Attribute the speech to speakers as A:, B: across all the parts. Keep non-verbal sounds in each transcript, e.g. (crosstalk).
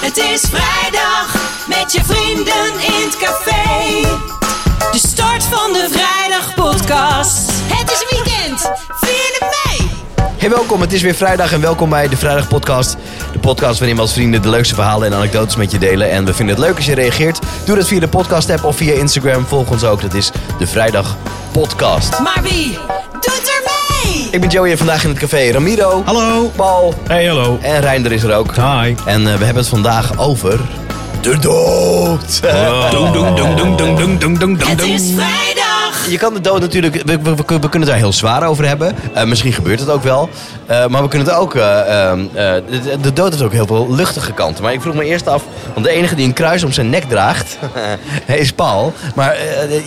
A: Het is vrijdag met je vrienden in het café. De start van de vrijdag podcast. Het is weekend. Vier mei.
B: Hey, welkom. Het is weer vrijdag en welkom bij de Vrijdag Podcast. De podcast waarin we als vrienden de leukste verhalen en anekdotes met je delen. En we vinden het leuk als je reageert. Doe dat via de podcast app of via Instagram. Volg ons ook. Dat is de Vrijdag Podcast.
A: Maar wie doet er mee?
B: Ik ben Joey en vandaag in het café Ramiro,
C: Hallo.
B: Paul
C: Hey, hallo.
B: en Reinder is er ook.
C: Hi.
B: En eh, we hebben het vandaag over de (laughs) dood.
D: Oh.
C: Doem, doem, doem, doem, doem, doem, doem, doem, doem,
A: Het is
C: doem.
A: vrijdag.
B: Je kan de dood natuurlijk, we, we, we kunnen het daar heel zwaar over hebben. Eh, misschien gebeurt het ook wel. Eh, maar we kunnen het ook, eh, ehm, eh, de, de dood heeft ook heel veel luchtige kanten. Maar ik vroeg me eerst af, want de enige die een kruis om zijn nek draagt, (laughs) is Paul. Maar eh,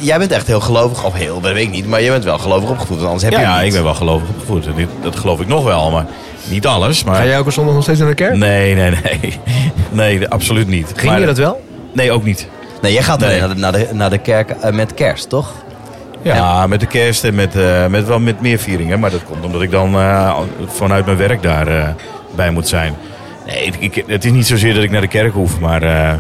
B: jij bent echt heel gelovig, of heel, dat weet ik niet. Maar je bent wel gelovig opgevoed, want anders heb
C: Ja,
B: je hem
C: ja,
B: niet.
C: ik ben wel gelovig opgevoed. En dit- Dat geloof ik nog wel, maar niet alles.
D: Ga
C: Maar...
D: jij elke zondag nog steeds naar de kerk?
C: Nee, nee, nee. Nee, de- absoluut niet.
D: Ging
C: Maar-
D: je dat wel?
C: Nee, ook niet.
B: Nee, jij gaat alleen
C: Nee.
B: naar, de, naar, de, naar de kerk eh, met kerst, toch? (laughs)
C: Ja, met de kerst en met, eh, met wel met meer vieringen. Maar dat komt omdat ik dan eh, vanuit mijn werk daar eh, bij moet zijn. Nee, ik, ik- het is niet zozeer dat ik naar de kerk hoef, maar eh,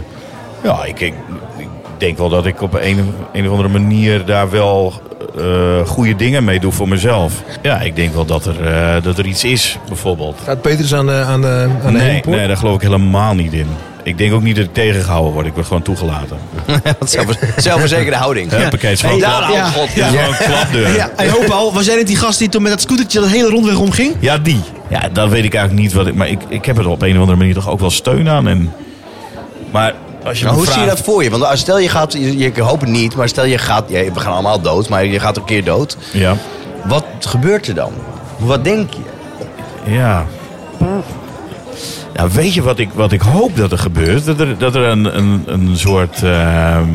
C: ja, ik, ik, ik denk wel dat ik op een, een of andere manier daar wel eh, goede dingen mee doe voor mezelf. Ja, ik denk wel dat er, eh, dat er iets is, bijvoorbeeld.
D: Gaat Petrus aan de, aan de, aan de
C: Nee,
D: heenpoort?
C: nee, daar geloof ik helemaal niet in. Ik denk ook niet dat ik tegengehouden word. Ik word gewoon toegelaten.
B: Wat zelfver- zelfverzekerde houding.
C: Ja. (laughs) Huppakee,
B: Hey,
C: gewoon
B: daar,
C: klap.
B: oh, god. Ja.
C: Gewoon klapdeur.
E: Ja, hey, hoop al, was jij niet die gast die toen met dat scootertje dat hele rondweg omging?
C: Ja, die. Ja, dat weet ik eigenlijk niet. Wat ik, maar ik, ik heb er op een of andere manier toch ook wel steun aan. En, maar als je
B: Maar
C: me
B: hoe zie je
C: vraagt-
B: dat voor je? Want als stel je gaat, je, ik hoop het niet, maar stel je gaat, ja, we gaan allemaal dood, maar je gaat een keer dood.
C: Ja.
B: Wat gebeurt er dan? Wat denk je?
C: ja. Nou, weet je wat ik, wat ik hoop dat er gebeurt? Dat er, dat er een, een, een soort ehm,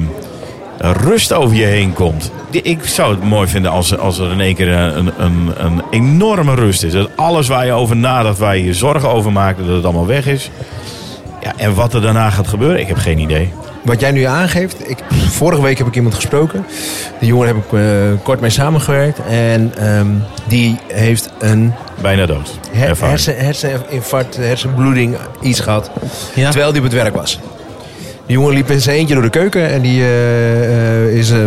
C: rust over je heen komt. Die- Ik zou het mooi vinden als, als er in één keer een, een, een enorme rust is. Dat alles waar je over nadacht, waar je je zorgen over maakt, dat het allemaal weg is. Ja, en wat er daarna gaat gebeuren, ik heb geen idee.
D: Wat jij nu aangeeft, ik, vorige week heb ik iemand gesproken. Die jongen heb ik eh, kort mee samengewerkt. En ehm, die heeft een
C: Bijna dood.
D: her-
C: Ervaring.
D: hersen, herseninfarct, hersenbloeding, iets gehad.
E: Ja.
D: Terwijl die op het werk was. Die jongen liep in zijn eentje door de keuken en die eh, eh, is eh,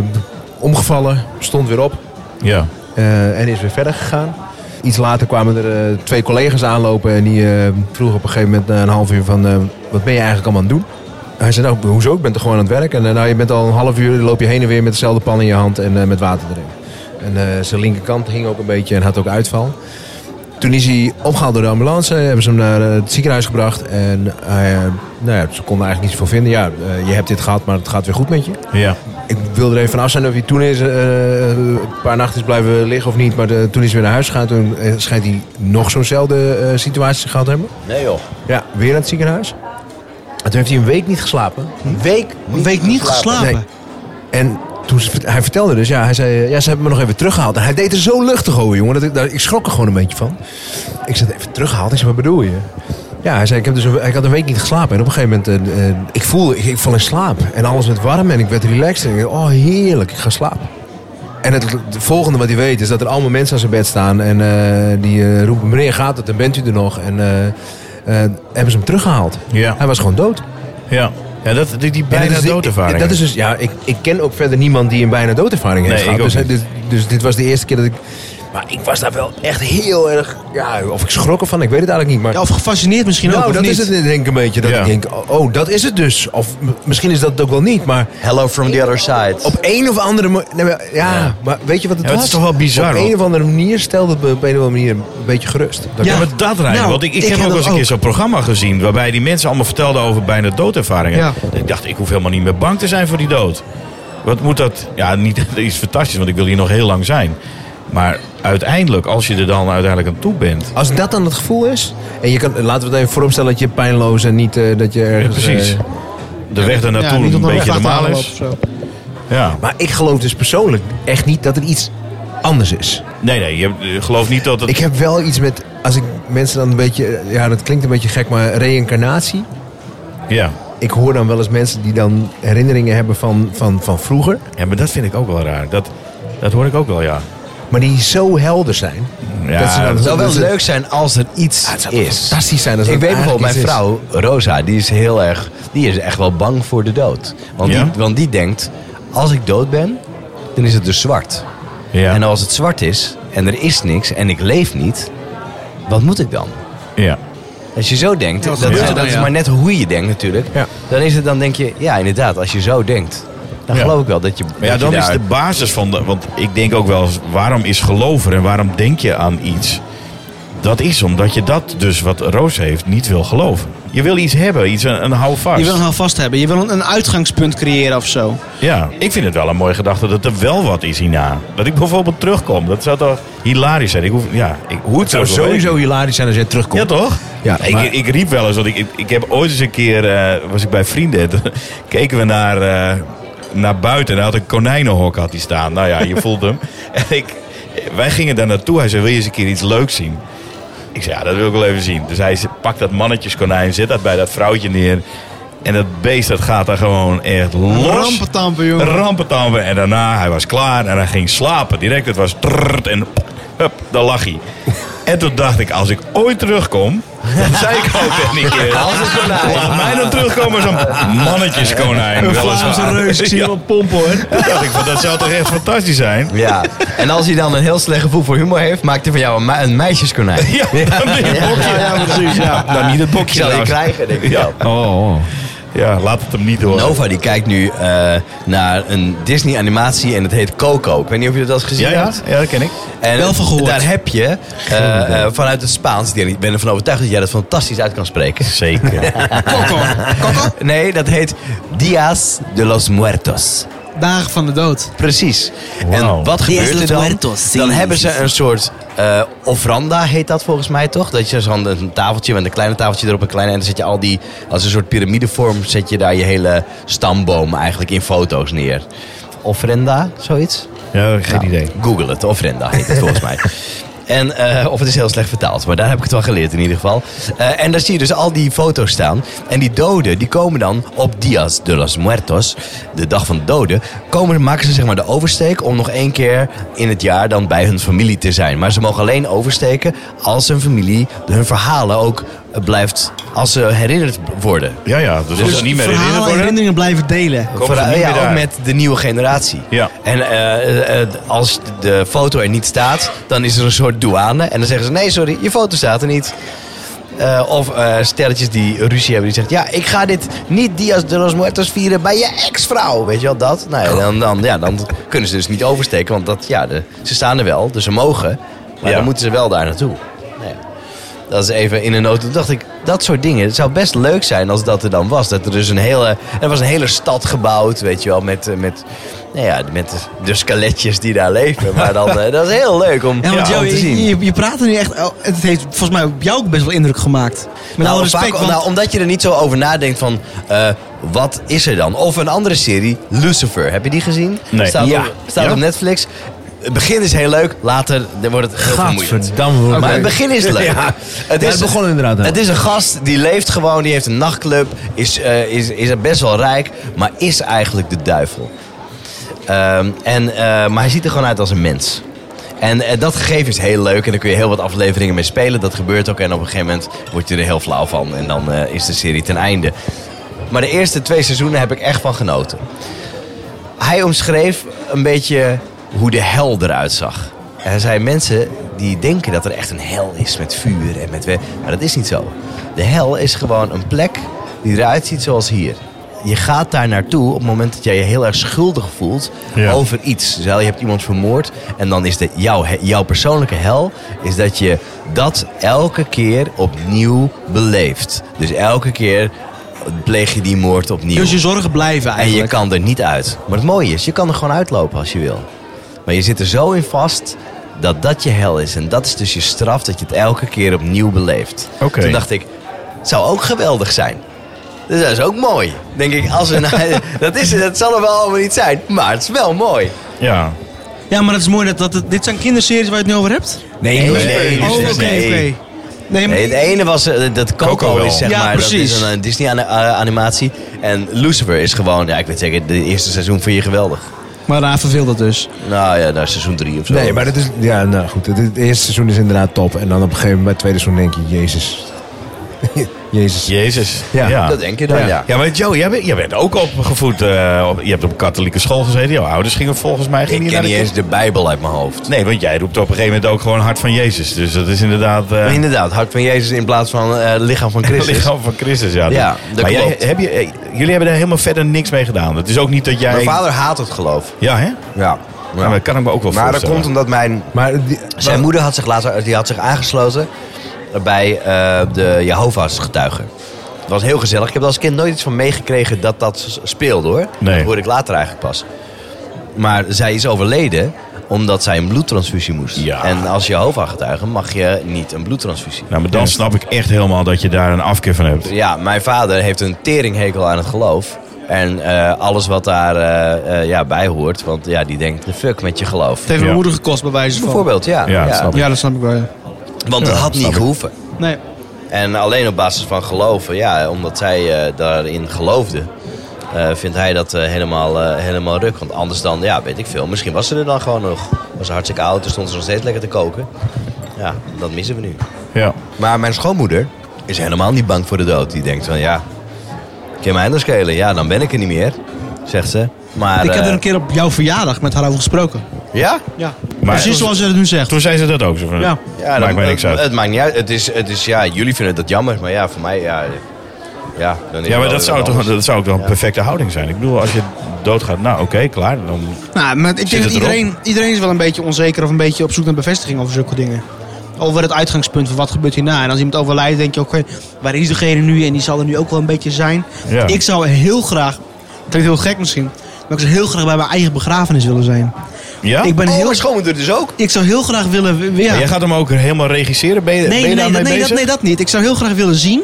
D: omgevallen, stond weer op.
C: Ja.
D: Eh, en is weer verder gegaan. Iets later kwamen er eh, twee collega's aanlopen en die eh, vroegen op een gegeven moment na een half uur van eh, wat ben je eigenlijk allemaal aan het doen? Hij zei nou hoezo, ik ben toch gewoon aan het werk. En eh, nou je bent al een half uur, loop je heen en weer met dezelfde pan in je hand en eh, met water erin. En eh, zijn linkerkant hing ook een beetje en had ook uitval. Toen is hij opgehaald door de ambulance, hebben ze hem naar eh, het ziekenhuis gebracht. En hij, eh, nou ja, ze konden eigenlijk niet zoveel vinden. Ja, eh, je hebt dit gehad, maar het gaat weer goed met je.
C: Ja.
D: Ik wilde er even van af zijn of hij toen is, eh, een paar nachten is blijven liggen of niet. Maar de- toen is hij weer naar huis gegaan. Toen eh, schijnt hij nog zo'nzelfde eh, situatie gehad te hebben.
B: Nee joh.
D: Ja, weer naar het ziekenhuis. En toen heeft hij een week niet geslapen.
B: Een week
E: Een week niet geslapen.
D: Nee. En toen ze- hij vertelde dus, ja, hij zei, eh, ja, ze hebben me nog even teruggehaald. En hij deed er zo luchtig over, jongen. Dat ik, daar, ik schrok er gewoon een beetje van. Ik zei, even teruggehaald? Ik zei, wat bedoel je? Ja, hij zei, ik, heb dus een, ik had een week niet geslapen. En op een gegeven moment, eh, eh, ik voelde, ik, ik val in slaap. En alles werd warm en ik werd relaxed. En ik dacht, oh, heerlijk, ik ga slapen. En het, het volgende wat hij weet is dat er allemaal mensen aan zijn bed staan. En eh, die eh, roepen, meneer, gaat het? En bent u er nog? En eh, eh, hebben ze hem teruggehaald.
C: Ja.
D: Hij was gewoon dood.
C: Ja. Ja, dat, die, die
D: En
C: bijna
D: dat is-
C: doodervaring.
D: ik- Dat is dus, ja, ik, ik ken ook verder niemand die een bijna doodervaring heeft
C: Nee,
D: gehad.
C: ik ook
D: dus,
C: niet.
D: dit, dus dit was de eerste keer dat ik... Maar ik was daar wel echt heel erg... Ja, of ik schrok ervan, ik weet het eigenlijk niet. Maar,
E: Ja, of gefascineerd misschien ook,
D: nou,
E: of
D: dat
E: niet?
D: is het denk ik een beetje. Dat
C: Ja.
D: ik denk, oh, oh, dat is het dus. Of m- misschien is dat het ook wel niet, maar...
B: Hello from the other side.
D: Op een of andere manier... ja, maar weet je wat het
C: Ja,
D: was?
C: maar het is toch wel bizar,
D: Op
C: hoor.
D: een of andere manier stelde het me op een of andere manier een beetje gerust. Dat
C: Ja,
D: ik-
C: maar dat rijdt.
E: Nou,
C: want ik, ik,
E: ik
C: heb
E: heb
C: ook wel
E: dat
C: eens een keer
E: ook.
C: zo'n programma gezien... waarbij die mensen allemaal vertelden over bijna doodervaringen.
E: Ja.
C: Ik dacht, ik hoef helemaal niet meer bang te zijn voor die dood. Wat moet dat... Ja, niet, (laughs) dat is fantastisch, want ik wil hier nog heel lang zijn. Maar uiteindelijk, als je er dan uiteindelijk aan toe bent...
D: Als dat dan het gevoel is... En je kan, laten we het even vooropstellen dat je pijnloos en niet eh, dat je ergens...
C: precies.
D: eh,
C: de weg daar
E: Ja,
C: naartoe
E: niet
C: een
E: omdat
C: beetje
E: een
C: normaal
E: vrachtwagen
C: is.
E: loopt of
C: Ja.
D: Maar ik geloof dus persoonlijk echt niet dat er iets anders is.
C: Nee, nee, je hebt- geloof niet dat het...
D: Ik heb wel iets met, als ik mensen dan een beetje, ja dat klinkt een beetje gek, maar reïncarnatie.
C: Ja.
D: Ik hoor dan wel eens mensen die dan herinneringen hebben van, van, van vroeger.
C: ja, maar dat vind ik ook wel raar. Dat, dat hoor ik ook wel, ja.
D: Maar die zo helder zijn.
C: Ja,
D: dat ze dan-
C: dat
B: Het zou wel
D: dat ze-
B: leuk zijn als er iets
D: Ja, het zou toch
B: is.
D: fantastisch zijn als
B: ik
D: dat
B: weet bijvoorbeeld, mijn
D: eigenlijk
B: vrouw, Rosa, die is heel erg. Die is echt wel bang voor de dood. Want,
C: Ja?
B: die, want die denkt: als ik dood ben, dan is het dus zwart.
C: Ja.
B: En als het zwart is en er is niks en ik leef niet, wat moet ik dan?
C: ja.
B: Als je zo denkt, dat,
E: wat gebeurt
B: is,
E: er
B: dat
E: dan,
B: is
E: ja?
B: maar net hoe je denkt natuurlijk.
D: Ja.
B: Dan, is het, dan denk je, ja inderdaad, als je zo denkt, dan
C: Ja.
B: geloof ik wel dat je.
C: Maar ja,
B: dat je
C: dan is
B: daar-
C: de basis van de. Want ik denk ook wel, eens, waarom is geloven en waarom denk je aan iets? Dat is omdat je dat dus wat Roos heeft niet wil geloven. Je wil iets hebben, iets een, een houvast.
E: Je wil een houvast hebben. Je wil een, een uitgangspunt creëren of zo.
C: Ja, ik vind het wel een mooie gedachte dat er wel wat is hierna. Dat ik bijvoorbeeld terugkom. Dat zou toch hilarisch zijn. Ik hoef, ja, ik, hoe het
D: zou
C: ook wel
D: sowieso hilarisch zijn als jij terugkomt.
C: Ja, toch?
D: Ja,
C: ik,
D: maar-
C: ik riep wel eens, want ik, ik, ik heb ooit eens een keer, eh, was ik bij vrienden, toen (laughs) keken we naar, eh, naar buiten en hij had een konijnenhok had hij staan. Nou ja, je voelt hem. (laughs) En ik, wij gingen daar naartoe, hij zei, wil je eens een keer iets leuks zien? Ik zei, ja, dat wil ik wel even zien. Dus hij ze- pakt dat mannetjeskonijn, zet dat bij dat vrouwtje neer. En dat beest, dat gaat daar gewoon echt los.
E: Rampetampen, jongen.
C: Rampetampen. En daarna, hij was klaar en hij ging slapen. Direct, het was trrrt en pop, hup, daar lag hij. En toen dacht ik, als ik ooit terugkom, dan zei ik ook tegen die keer. Laat mij dan terugkomen als een mannetjeskonijn.
E: Een
C: weliswaar.
E: Vlaamse reus. Ik zie
C: Ja,
E: wel pompen hoor.
C: toen dacht ik, van, dat zou toch echt fantastisch zijn?
B: Ja, en als hij dan een heel slecht gevoel voor humor heeft, maakt hij van jou een, me- een meisjeskonijn.
C: Ja, dan ben je bokje.
E: Ja, precies. Ja.
C: Nou, niet het
B: Ik
C: bokje
B: zal je
C: trouwens.
B: krijgen, denk ik
C: Ja.
B: wel.
C: Ja, laat het hem niet horen.
B: Nova die kijkt nu eh, naar een Disney animatie en het heet Coco. Ik weet niet of je dat al eens gezien
C: Ja, ja,
B: hebt.
C: ja, dat ken ik.
B: En
E: Wel van gehoord.
B: Daar heb je eh, eh, vanuit het Spaans, ik ben ervan overtuigd dat jij dat fantastisch uit kan spreken.
C: Zeker.
E: Kokko. Kokko.
B: Nee, dat heet Dias de los Muertos.
E: Dagen van de dood.
B: Precies. En
C: Wauw.
B: wat gebeurt er
A: los
B: dan?
A: Muertos, sí.
B: Dan hebben ze een soort eh ofranda, heet dat volgens mij toch? Dat je zo'n een tafeltje met een kleine tafeltje erop, een kleine. En dan zet je al die, als een soort piramidevorm, zet je daar je hele stamboom eigenlijk in foto's neer. Ofrenda, zoiets?
C: Ja, geen
B: Nou,
C: idee.
B: Google het, ofrenda heet het volgens
C: (laughs)
B: mij. En, eh, of het is heel slecht vertaald, maar daar heb ik het wel geleerd in ieder geval. Eh, en daar zie je dus al die foto's staan. En die doden, die komen dan op Dias de los Muertos, de dag van de doden, komen, maken ze zeg maar de oversteek om nog één keer in het jaar dan bij hun familie te zijn. Maar ze mogen alleen oversteken als hun familie hun verhalen ook eh, blijft, als ze herinnerd worden.
C: Ja, ja, dus, als ze niet meer
E: verhalen
C: herinnerd
E: en
C: worden.
E: herinneringen blijven delen.
C: Komen ze
B: Vooral-
C: niet
B: ja,
C: meer
B: ook
C: daar.
B: met de nieuwe generatie.
C: Ja.
B: En eh, eh, eh, als de foto er niet staat, dan is er een soort douane. En dan zeggen ze, nee, sorry, je foto staat er niet. Eh, of eh, stelletjes die ruzie hebben, die zeggen... ja, ik ga dit niet Dias de los Muertos vieren bij je ex-vrouw. Weet je wel, dat? Nou ja, dan, dan, ja, dan kunnen ze dus niet oversteken. Want dat, ja, de- ze staan er wel, dus ze mogen. Maar
C: Ja.
B: dan moeten ze wel daar naartoe. Nou ja. Dat is even in een noot. Toen dacht ik, dat soort dingen. Het zou best leuk zijn als dat er dan was. Dat er dus een hele. Er was een hele stad gebouwd, weet je wel. Met, eh, met, nou ja, met de, de skeletjes die daar leven. Maar dan, eh, dat is heel leuk om,
E: Ja, want
B: om
E: jou-
B: te zien.
E: je, je praat er nu echt... oh, het heeft volgens mij op jou ook best wel indruk gemaakt. Met alle
B: Nou,
E: respect.
B: vaak-
E: want-
B: nou, omdat je er niet zo over nadenkt van eh, wat is er dan? Of een andere serie, Lucifer. Heb je die gezien?
C: Nee.
B: Staat,
C: Ja.
B: op, staat
C: Ja?
B: op Netflix. Het begin is heel leuk, later dan wordt het heel vermoeiend.
D: Gadverdamme.
B: Maar het begin is leuk. het,
D: (laughs) Ja, het begon inderdaad wel.
B: Het is een gast die leeft gewoon, die heeft een nachtclub, is, eh, is, is best wel rijk, maar is eigenlijk de duivel. Ehm, en, eh, maar hij ziet er gewoon uit als een mens. En eh, dat gegeven is heel leuk en daar kun je heel wat afleveringen mee spelen. Dat gebeurt ook en op een gegeven moment word je er heel flauw van en dan eh, is de serie ten einde. Maar de eerste twee seizoenen heb ik echt van genoten. Hij omschreef een beetje hoe de hel eruit zag. En hij zei, mensen die denken dat er echt een hel is met vuur en met... we- Maar dat is niet zo. De hel is gewoon een plek die eruit ziet zoals hier. Je gaat daar naartoe op het moment dat jij je heel erg schuldig voelt
C: Ja.
B: over iets. Dus je hebt iemand vermoord en dan is de, jouw, he- jouw persoonlijke hel... is dat je dat elke keer opnieuw beleeft. Dus elke keer pleeg je die moord opnieuw.
E: dus je zorgen blijven
B: En je
E: eigenlijk.
B: kan er niet uit. Maar het mooie is, je kan er gewoon uitlopen als je wil. Maar je zit er zo in vast dat dat je hel is. En dat is dus je straf dat je het elke keer opnieuw beleeft.
C: Oké.
B: Toen dacht ik, het zou ook geweldig zijn. Dus dat is ook mooi. Denk ik, als we nou- (laughs) dat, is, dat zal er wel allemaal niet zijn, maar het is wel mooi.
C: Ja.
E: Ja, maar dat is mooi. Dat, dat, het- dit zijn kinderseries waar je het nu over hebt?
B: Nee, dus-
D: Lucifer.
E: Oh, oké, oké. Nee, maar-
B: Nee, het ene was eh, dat Coco,
C: Coco wel.
B: is zeg
E: Ja,
B: maar dat
E: precies.
B: is een, eh, Disney ani- eh, animatie en Lucifer is gewoon ja ik weet zeker de eerste seizoen vind je geweldig.
E: Maar Raven wil dat dus.
B: Nou ja, naar seizoen 3 of zo.
D: Nee, maar dat is... Ja, nou goed. Het, het eerste seizoen is inderdaad top. En dan op een gegeven moment, bij het tweede seizoen denk je... Jezus. (laughs) Jezus.
C: Jezus.
D: Ja,
B: Dat denk je dan, ja.
C: Ja, maar Joe, jij bent, jij bent ook opgevoed. eh, op, je hebt op katholieke school gezeten. Jouw ouders gingen volgens mij gingen
B: Ik
C: naar
B: ken
C: de
B: niet eens de Bijbel uit mijn hoofd.
C: kerk. Nee, want jij roept op een gegeven moment ook gewoon hart van Jezus. Dus dat is inderdaad... eh,
B: Maar
C: (laughs)
B: inderdaad, hart van Jezus in plaats van eh, lichaam (laughs) van
C: het
B: Christus.
C: lichaam van Christus, ja.
B: Ja, dat
C: maar jij,
B: klopt.
C: heb je, eh, jullie hebben daar helemaal verder niks mee gedaan. Het is ook niet dat jij...
B: Mijn vader haat het geloof.
C: Ja, hè?
B: Ja. ja.
C: Nou, dat kan ik me ook wel
B: maar dat
C: voorstellen.
B: komt omdat mijn
D: Maar die-
B: Zijn moeder had zich, later, die had zich aangesloten bij eh, de Jehovah's getuigen. Dat was heel gezellig. Ik heb er als kind nooit iets van meegekregen dat dat s- speelde hoor.
C: Nee.
B: Dat hoorde ik later eigenlijk pas. Maar zij is overleden omdat zij een bloedtransfusie moest.
C: Ja.
B: En als Jehovah getuige mag je niet een bloedtransfusie.
C: Nou, maar dan snap ik echt helemaal dat je daar een afkeer van hebt.
B: Ja, mijn vader heeft een teringhekel aan het geloof. En eh, alles wat daar eh, eh, ja, bij hoort. Want ja, die denkt, de fuck met je geloof.
E: Het heeft mijn
C: Ja.
E: moeder gekost, bij wijze van.
B: Bijvoorbeeld, ja.
C: Ja, dat snap ik.
E: Ja, dat snap ik wel, ja.
B: Want het
C: Ja,
B: had
C: snap
B: niet
C: ik.
B: gehoeven.
E: Nee.
B: En alleen op basis van geloven, ja, omdat zij eh, daarin geloofde, eh, vindt hij dat eh, helemaal, eh, helemaal ruk. Want anders dan, ja, weet ik veel. Misschien was ze er dan gewoon nog. Was ze hartstikke oud, dus stond ze nog steeds lekker te koken. Ja, dat missen we nu.
C: Ja.
B: Maar mijn schoonmoeder is helemaal niet bang voor de dood. Die denkt van, ja, kan mij anders schelen? Ja, dan ben ik er niet meer, zegt ze. Maar,
E: ik heb
B: eh,
E: er een keer op jouw verjaardag met haar over gesproken.
B: Ja?
E: Ja.
C: Maar-
E: Precies zoals ze het nu zegt.
C: Toen zei ze dat ook. Zo van,
E: Ja.
B: Ja,
C: maakt mij
B: dan-
C: niks uit.
B: Het maakt niet uit. Het is, het is, ja, jullie vinden dat jammer, maar ja, voor mij, ja... Ja, dan is het
C: ja, maar
B: wel
C: dat zou,
B: wat
C: toch,
B: anders.
C: dat zou ook wel een perfecte houding zijn. Ik bedoel, als je doodgaat, nou oké, klaar. Dan,
E: Nou, maar ik
C: Zit
E: denk dat
C: het erop?
E: iedereen, iedereen is wel een beetje onzeker of een beetje op zoek naar bevestiging over zulke dingen. Over het uitgangspunt van wat gebeurt hierna. En als iemand overlijdt, denk je oké, waar is degene nu? En die zal er nu ook wel een beetje zijn.
C: Ja.
E: Ik zou heel graag, klinkt heel gek misschien, maar ik zou heel graag bij mijn eigen begrafenis willen zijn.
C: ja?
E: Ik, ben
B: Oh,
E: heel,
B: mijn schoonmoeder dus ook?
E: ik zou heel graag willen, ja,
C: Maar jij gaat hem ook helemaal regisseren? Ben je,
E: Nee,
C: ben je
E: nee,
C: daarmee
E: dat, nee, dat,
C: bezig?
E: nee, dat niet. Ik zou heel graag willen zien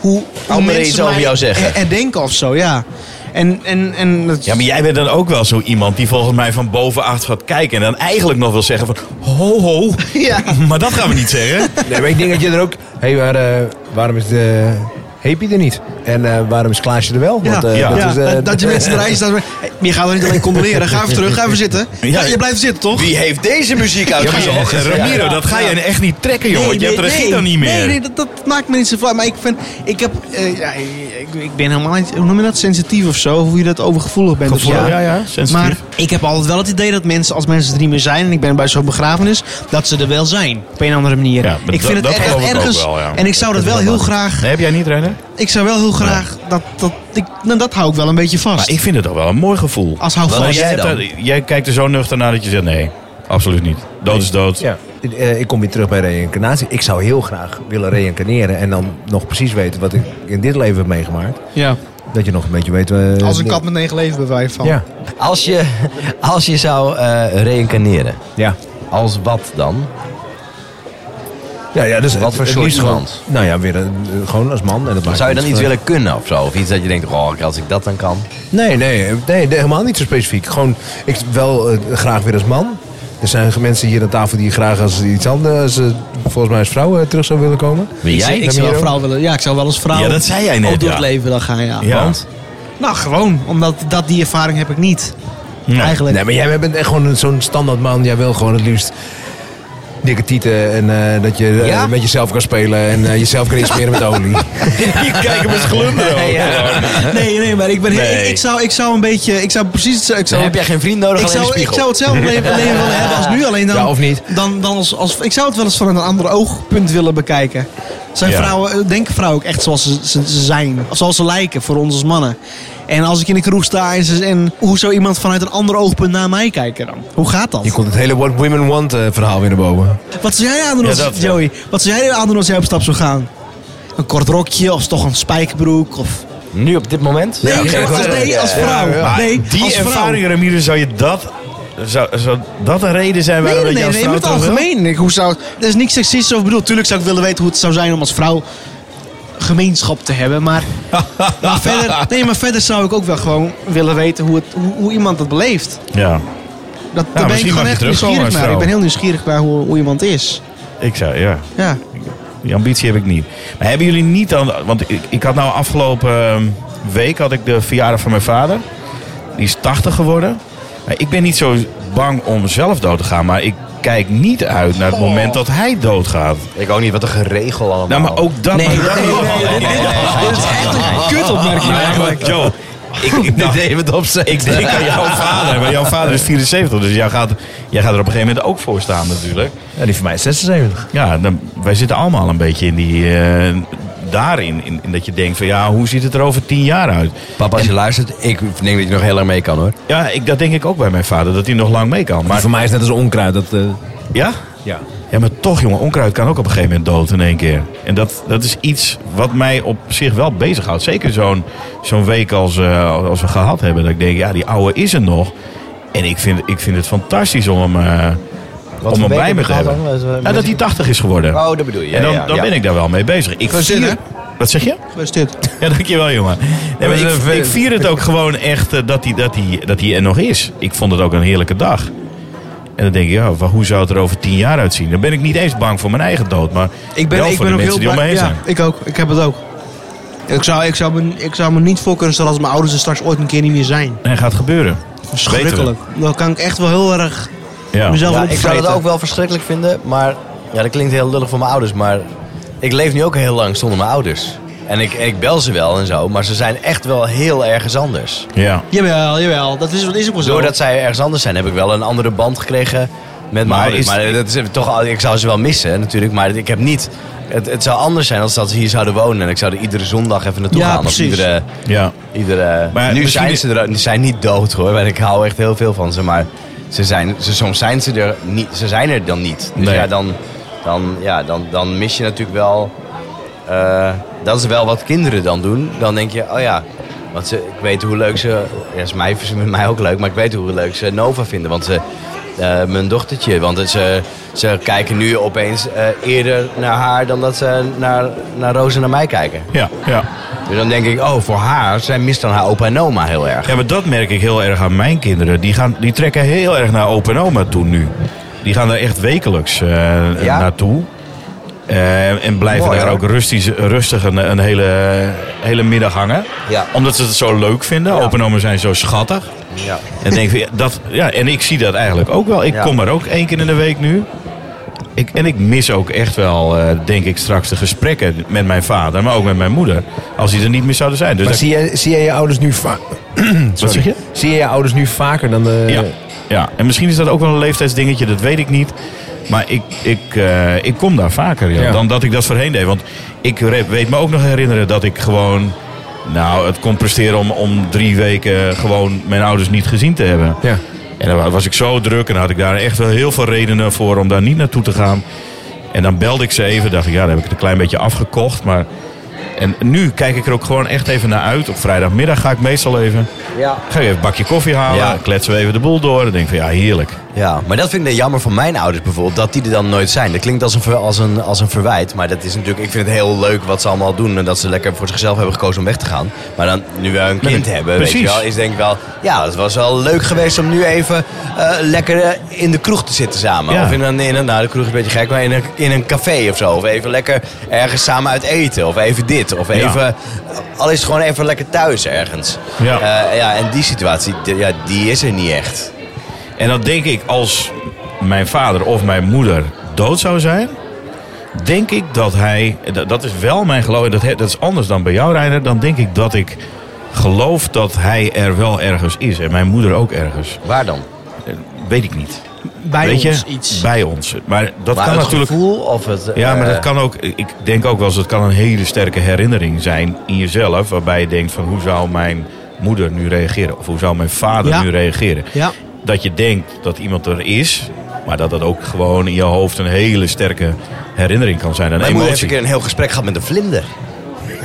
E: hoe, hoe
B: Anderen
E: mensen
B: iets over
E: mij
B: jou zeggen.
E: her- herdenken of zo, ja. En, en, en dat,
C: Ja, maar jij bent dan ook wel zo iemand die volgens mij van bovenacht gaat kijken. En dan eigenlijk nog wil zeggen van, ho ho.
E: (laughs) Ja.
C: Maar dat gaan we niet zeggen.
D: Nee, maar ik denk dat je er ook... Hé, maar, eh, waarom is de... Heepie er niet? En eh, waarom is Klaasje er wel? Want, eh,
C: Ja.
D: Dat,
E: Ja,
D: is, eh,
E: dat, dat
D: (laughs)
E: je mensen erin staan. Maar hey, maar je gaat wel niet alleen condoleren. Ga even terug, ga even zitten.
C: Ja.
E: Ja, je blijft zitten, toch?
B: Wie heeft deze muziek
C: Ja, maar joh,
B: uitgezocht?
C: Ramiro, dat ga je echt niet trekken, jongen. je hebt de regie dan niet meer.
E: Nee, nee dat, dat maakt me niet zo van. Maar ik vind, ik heb, eh, ja, ik, ik ben helemaal niet, hoe noem je dat, sensitief of zo? Hoe je dat overgevoelig bent. of
C: Gevoelig,
E: zo.
C: ja, ja, sensitief.
E: Maar ik heb altijd wel het idee dat mensen, als mensen er niet meer zijn, en ik ben bij zo'n begrafenis, dat ze er wel zijn. Op een of andere manier.
C: Ja, maar
E: ik
C: dat-
E: vind
C: dat
E: het echt
C: geloof ik ook
E: ergens,
C: wel, ja.
E: en ik zou dat wel heel graag,
C: Nee, heb jij niet, Renner?
E: ik zou wel heel graag, dat, dat, ik, nou, dat hou ik wel een beetje vast.
C: Maar ik vind het toch wel een mooi gevoel.
E: als hou
B: Wel
E: vast.
B: als jij
C: hebt
B: dan?
C: daar- jij kijkt er zo nuchter naar dat je zegt, nee, absoluut niet. Dood is dood.
D: Ja, eh, ik kom weer terug bij reïncarnatie. Ik zou heel graag willen reïncarneren en dan nog precies weten wat ik in dit leven heb meegemaakt.
E: ja.
D: Dat je nog een beetje weet... eh,
E: Als een
D: de-
E: kat met negen leven bewijs van.
D: Ja,
B: Als je, als je zou eh reïncarneren,
D: ja.
B: als wat dan?
D: Ja, ja, dus
B: Wat
D: het-
B: voor
D: het
B: soort
D: liefst gewoon-
B: iemand?
D: Nou ja, weer een, eh, gewoon als man. En dat maakt
B: Zou je dan
D: niet
B: iets
D: uit.
B: willen kunnen of zo? Of iets dat je denkt, oh, als ik dat dan kan.
D: Nee, nee, nee, nee, helemaal niet zo specifiek. Gewoon, ik wel eh, graag weer als man. Er zijn mensen hier aan tafel die graag als iets anders, als, eh, volgens mij als vrouw, eh, terug zou willen komen.
B: Wie
E: Ik,
B: jij?
E: zou- ik zou wel
D: Ramiro?
E: vrouw willen. Ja, ik zou wel als vrouw.
C: Ja, dat zei jij net,
E: Ook door het
C: ja.
E: leven dan gaan, ja.
C: Ja. (laughs)
E: Want? Nou, gewoon. Omdat dat, die ervaring heb ik niet.
C: Nee.
E: Eigenlijk.
D: Nee, maar jij bent echt gewoon een- zo'n standaard man. Jij wil gewoon het liefst dikke tieten en eh, dat je eh,
B: Ja?
D: met jezelf kan spelen en eh, jezelf kan insmeren met olie.
C: Je kijkt hem eens glunderen. ook.
E: nee, nee, maar ik ben...
C: Nee.
E: Ik, ik zou, ik zou een beetje... Ik zou precies... Ik
B: Dan
E: zou,
B: heb jij geen vriend nodig,
E: ik,
B: alleen een
E: zou, ik
B: spiegel.
E: zou hetzelfde leven, leven willen hebben als nu. Alleen dan...
D: Ja, of niet?
E: Dan, dan als, als, ik zou het wel eens van een ander oogpunt willen bekijken. Zijn
C: Ja.
E: vrouwen... eh, Denken vrouwen ook echt zoals ze, ze- ze zijn. Of zoals ze lijken voor ons als mannen. En als ik in de kroeg sta en, ze, en hoe zou iemand vanuit een ander oogpunt naar mij kijken dan? Hoe gaat
D: (laughs)
E: dat?
D: Je komt het hele What Women Want eh, verhaal weer naar boven.
E: Wat zou jij aandoen
C: Ja,
E: als,
C: dat, ja.
E: Joey? Wat zou jij aandoen als jij op stap zou gaan? Een kort rokje of toch een spijkerbroek? Of...
B: Nu op dit moment?
E: Nee,
B: Ja,
E: als,
B: oké.
E: nee, als vrouw.
C: Maar
E: Nee,
C: Ah, die
E: als vrouw.
C: ervaring, Ramiro, zou je dat... Zou, zou dat een reden zijn
E: Nee,
C: waarom
E: nee,
C: dat je
E: nee,
C: als
E: nee,
C: vrouw
E: in het
C: terug wil?
E: algemeen. Ik, hoe zou, er is niks seksistisch over bedoeld. Tuurlijk zou ik willen weten hoe het zou zijn om als vrouw gemeenschap te hebben.
C: (laughs)
E: Maar, maar, verder, nee, maar verder zou ik ook wel gewoon willen weten hoe, het, hoe, hoe iemand dat beleeft.
C: Ja,
E: Dat, daar ben ik
C: misschien mag
E: gewoon
C: je
E: echt
C: terugkomen
E: nieuwsgierig
C: als
E: naar.
C: vrouw.
E: Ik ben heel nieuwsgierig naar hoe, hoe iemand is.
C: ik zou, ja.
E: Ja.
C: Die ambitie heb ik niet. Maar hebben jullie niet dan... Want ik, ik had nou afgelopen ehm, week had ik de verjaardag van mijn vader. Die is 80 geworden. Nou, Ik ben niet zo bang om zelf dood te gaan, maar ik kijk niet uit naar het moment dat hij doodgaat.
B: Ik ook niet, wat een geregel allemaal.
C: Nou, maar ook dat.
B: Nee,
C: maar
B: nee,
C: dat-
B: nee, nee, nee,
C: Oh.
B: nee.
E: Dat is echt een kutopmerking eigenlijk.
C: Joe, ik, (laughs) ik,
B: Dit
C: nou,
B: deed me het opzet.
C: ik denk aan (laughs) jouw vader, maar jouw vader is 74, dus jij gaat, jij gaat er op een gegeven moment ook voor staan natuurlijk.
D: Ja, die van mij is 76.
C: Ja, dan, wij zitten allemaal een beetje in die, eh, daarin, in, in dat je denkt van ja, hoe ziet het er over tien jaar uit?
B: Papa, als je luistert, ik denk dat je nog heel lang mee kan hoor.
C: Ja, ik, dat denk ik ook bij mijn vader, dat hij nog lang mee kan.
D: Maar
C: Maar
D: voor mij is het net als onkruid. Dat, eh,
C: ja?
D: ja.
C: Ja, maar toch jongen, onkruid kan ook op een gegeven moment dood in één keer. En dat, dat is iets wat mij op zich wel bezighoudt. Zeker zo'n zo'n week als, eh, als we gehad hebben, dat ik denk ja, die oude is er nog. En ik vind, ik vind het fantastisch om hem, eh, om hem bij me te hebben. Ja, dat hij 80 is geworden.
B: Oh, dat bedoel je.
C: En dan, dan ben ik daar wel mee bezig. Ik
E: Gefeliciteerd,
C: vier- Wat zeg je?
E: Gefeliciteerd.
C: Ja, dankjewel jongen. Nee, maar
D: Dat is
C: ik,
D: een-
C: ik vier het ook gewoon echt eh, dat hij dat die, dat die er nog is. Ik vond het ook een heerlijke dag. En dan denk ik, ja, wa- hoe zou het er over tien jaar uitzien? Dan ben ik niet eens bang voor mijn eigen dood, maar
E: Ik ben,
C: wel
E: ik
C: voor
E: ben
C: de
E: ook
C: mensen
E: heel
C: die om me
E: blij.
C: heen
E: Ja,
C: zijn.
E: ik ook. Ik heb het ook. Ik zou, ik, zou me, ik zou me niet voor kunnen stellen als mijn ouders er straks ooit een keer niet meer zijn.
C: En gaat gebeuren.
E: Verschrikkelijk. Dan kan ik echt wel heel erg
C: Ja.
E: mezelf
B: Ja,
E: ja,
B: ik zou dat ook wel verschrikkelijk vinden, maar ja, dat klinkt heel lullig voor mijn ouders, maar ik leef nu ook heel lang zonder mijn ouders. En ik, ik bel ze wel en zo, maar ze zijn echt wel heel ergens anders.
C: Ja.
E: Jawel, jawel. Dat is, dat is ook wel zo.
B: Doordat zij ergens anders zijn, heb ik wel een andere band gekregen met mijn
C: Maar
B: ouders.
C: is-
B: Maar dat is toch, al- ik zou ze wel missen natuurlijk, maar ik heb niet... Het, het zou anders zijn als dat ze hier zouden wonen en ik zou er iedere zondag even naartoe
E: Ja,
B: gaan. of
E: precies.
B: Iedere,
C: ja.
B: iedere,
C: Maar
B: nu
C: misschien-
B: zijn ze er, ze zijn niet dood hoor, en ik hou echt heel veel van ze, maar ze zijn, ze, soms zijn ze er, niet, ze zijn er dan niet. Dus
C: Nee.
B: ja, dan, dan, ja dan, dan mis je natuurlijk wel, eh, dat is wel wat kinderen dan doen. Dan denk je, oh ja, want ze, ik weet hoe leuk ze, ja is mij, is met mij ook leuk, maar ik weet hoe leuk ze Nova vinden, want ze... eh, mijn dochtertje, want het- ze, ze kijken nu opeens eh, eerder naar haar dan dat ze naar, naar Roos en naar mij kijken.
C: Ja. ja.
B: Dus dan denk ik, oh, voor haar, zij mist dan haar opa en oma heel erg.
C: Ja, maar dat merk ik heel erg aan mijn kinderen. Die, gaan, die trekken heel erg naar open oma toe nu. Die gaan daar echt wekelijks eh,
B: Ja?
C: naartoe. Eh, en blijven
B: Mooi,
C: daar
B: hoor.
C: ook rustig, rustig een, een hele, hele middag hangen.
B: Ja.
C: Omdat ze het zo leuk vinden.
B: Ja.
C: Open oma zijn zo schattig.
B: Ja.
C: En, denk, van, ja, dat, ja, en ik zie dat eigenlijk ook wel. Ik
B: Ja.
C: kom er ook één keer in de week nu. Ik, en ik mis ook echt wel, eh, denk ik, straks de gesprekken met mijn vader. Maar ook met mijn moeder. Als die er niet meer zouden zijn. Dus
D: Maar
C: dat-
D: zie jij, zie jij je ouders nu vaak...
C: wat zeg je?
D: Zie jij je ouders nu vaker dan eh, de...
C: Ja. ja, en misschien is dat ook wel een leeftijdsdingetje, dat weet ik niet. Maar ik, ik, eh, ik kom daar vaker ja,
D: Ja.
C: dan dat ik dat voorheen deed. Want ik re- weet me ook nog herinneren dat ik gewoon... Nou, het kon presteren om, om drie weken gewoon mijn ouders niet gezien te hebben.
D: Ja.
C: En dan was ik zo druk en had ik daar echt wel heel veel redenen voor om daar niet naartoe te gaan. En dan belde ik ze even, dacht ik, ja, dan heb ik het een klein beetje afgekocht. Maar... En nu kijk ik er ook gewoon echt even naar uit. Op vrijdagmiddag ga ik meestal even.
B: Ja.
C: Ga ik even een bakje koffie halen,
B: Ja.
C: kletsen we even de boel door. Dan denk ik van ja, heerlijk.
B: ja, maar dat vind ik dan jammer van mijn ouders bijvoorbeeld, dat die er dan nooit zijn. Dat klinkt als een, ver- als een, als een verwijt, maar dat is natuurlijk, ik vind het heel leuk wat ze allemaal doen. En dat ze lekker voor zichzelf hebben gekozen om weg te gaan. Maar dan, nu we een kind
C: nee,
B: hebben, weet
C: precies.
B: je wel, is denk ik wel, ja, het was wel leuk geweest om nu even eh, lekker eh, in de kroeg te zitten samen.
C: Ja.
B: Of in een, in een, nou de kroeg is een beetje gek, maar in een, in een café of zo. Of even lekker ergens samen uit eten, of even dit, of even, al is het gewoon even lekker thuis ergens.
C: Ja.
B: Eh, ja en die situatie, d- ja, die is er niet echt.
C: En dan denk ik, als mijn vader of mijn moeder dood zou zijn, denk ik dat hij, dat, dat is wel mijn geloof, en dat, he- dat is anders dan bij jou, Reiner, dan denk ik dat ik geloof dat hij er wel ergens is. En mijn moeder ook ergens.
B: Waar dan?
C: Eh, Weet ik niet.
E: bij
C: Weet
E: ons
C: je?
E: iets.
C: Bij ons. Maar dat
B: Maar
C: kan
B: het
C: natuurlijk.
B: gevoel of het...
C: Ja, maar dat
B: eh,
C: kan ook, ik denk ook wel eens, dat kan een hele sterke herinnering zijn in jezelf. Waarbij je denkt van hoe zou mijn moeder nu reageren? Of hoe zou mijn vader
E: Ja.
C: nu reageren?
E: Ja.
C: Dat je denkt dat iemand er is, maar dat dat ook gewoon in je hoofd een hele sterke herinnering kan zijn. Een
B: Mijn moeder heeft een
C: emotie.
B: keer een heel gesprek gehad met een
C: (laughs)
B: vlinder.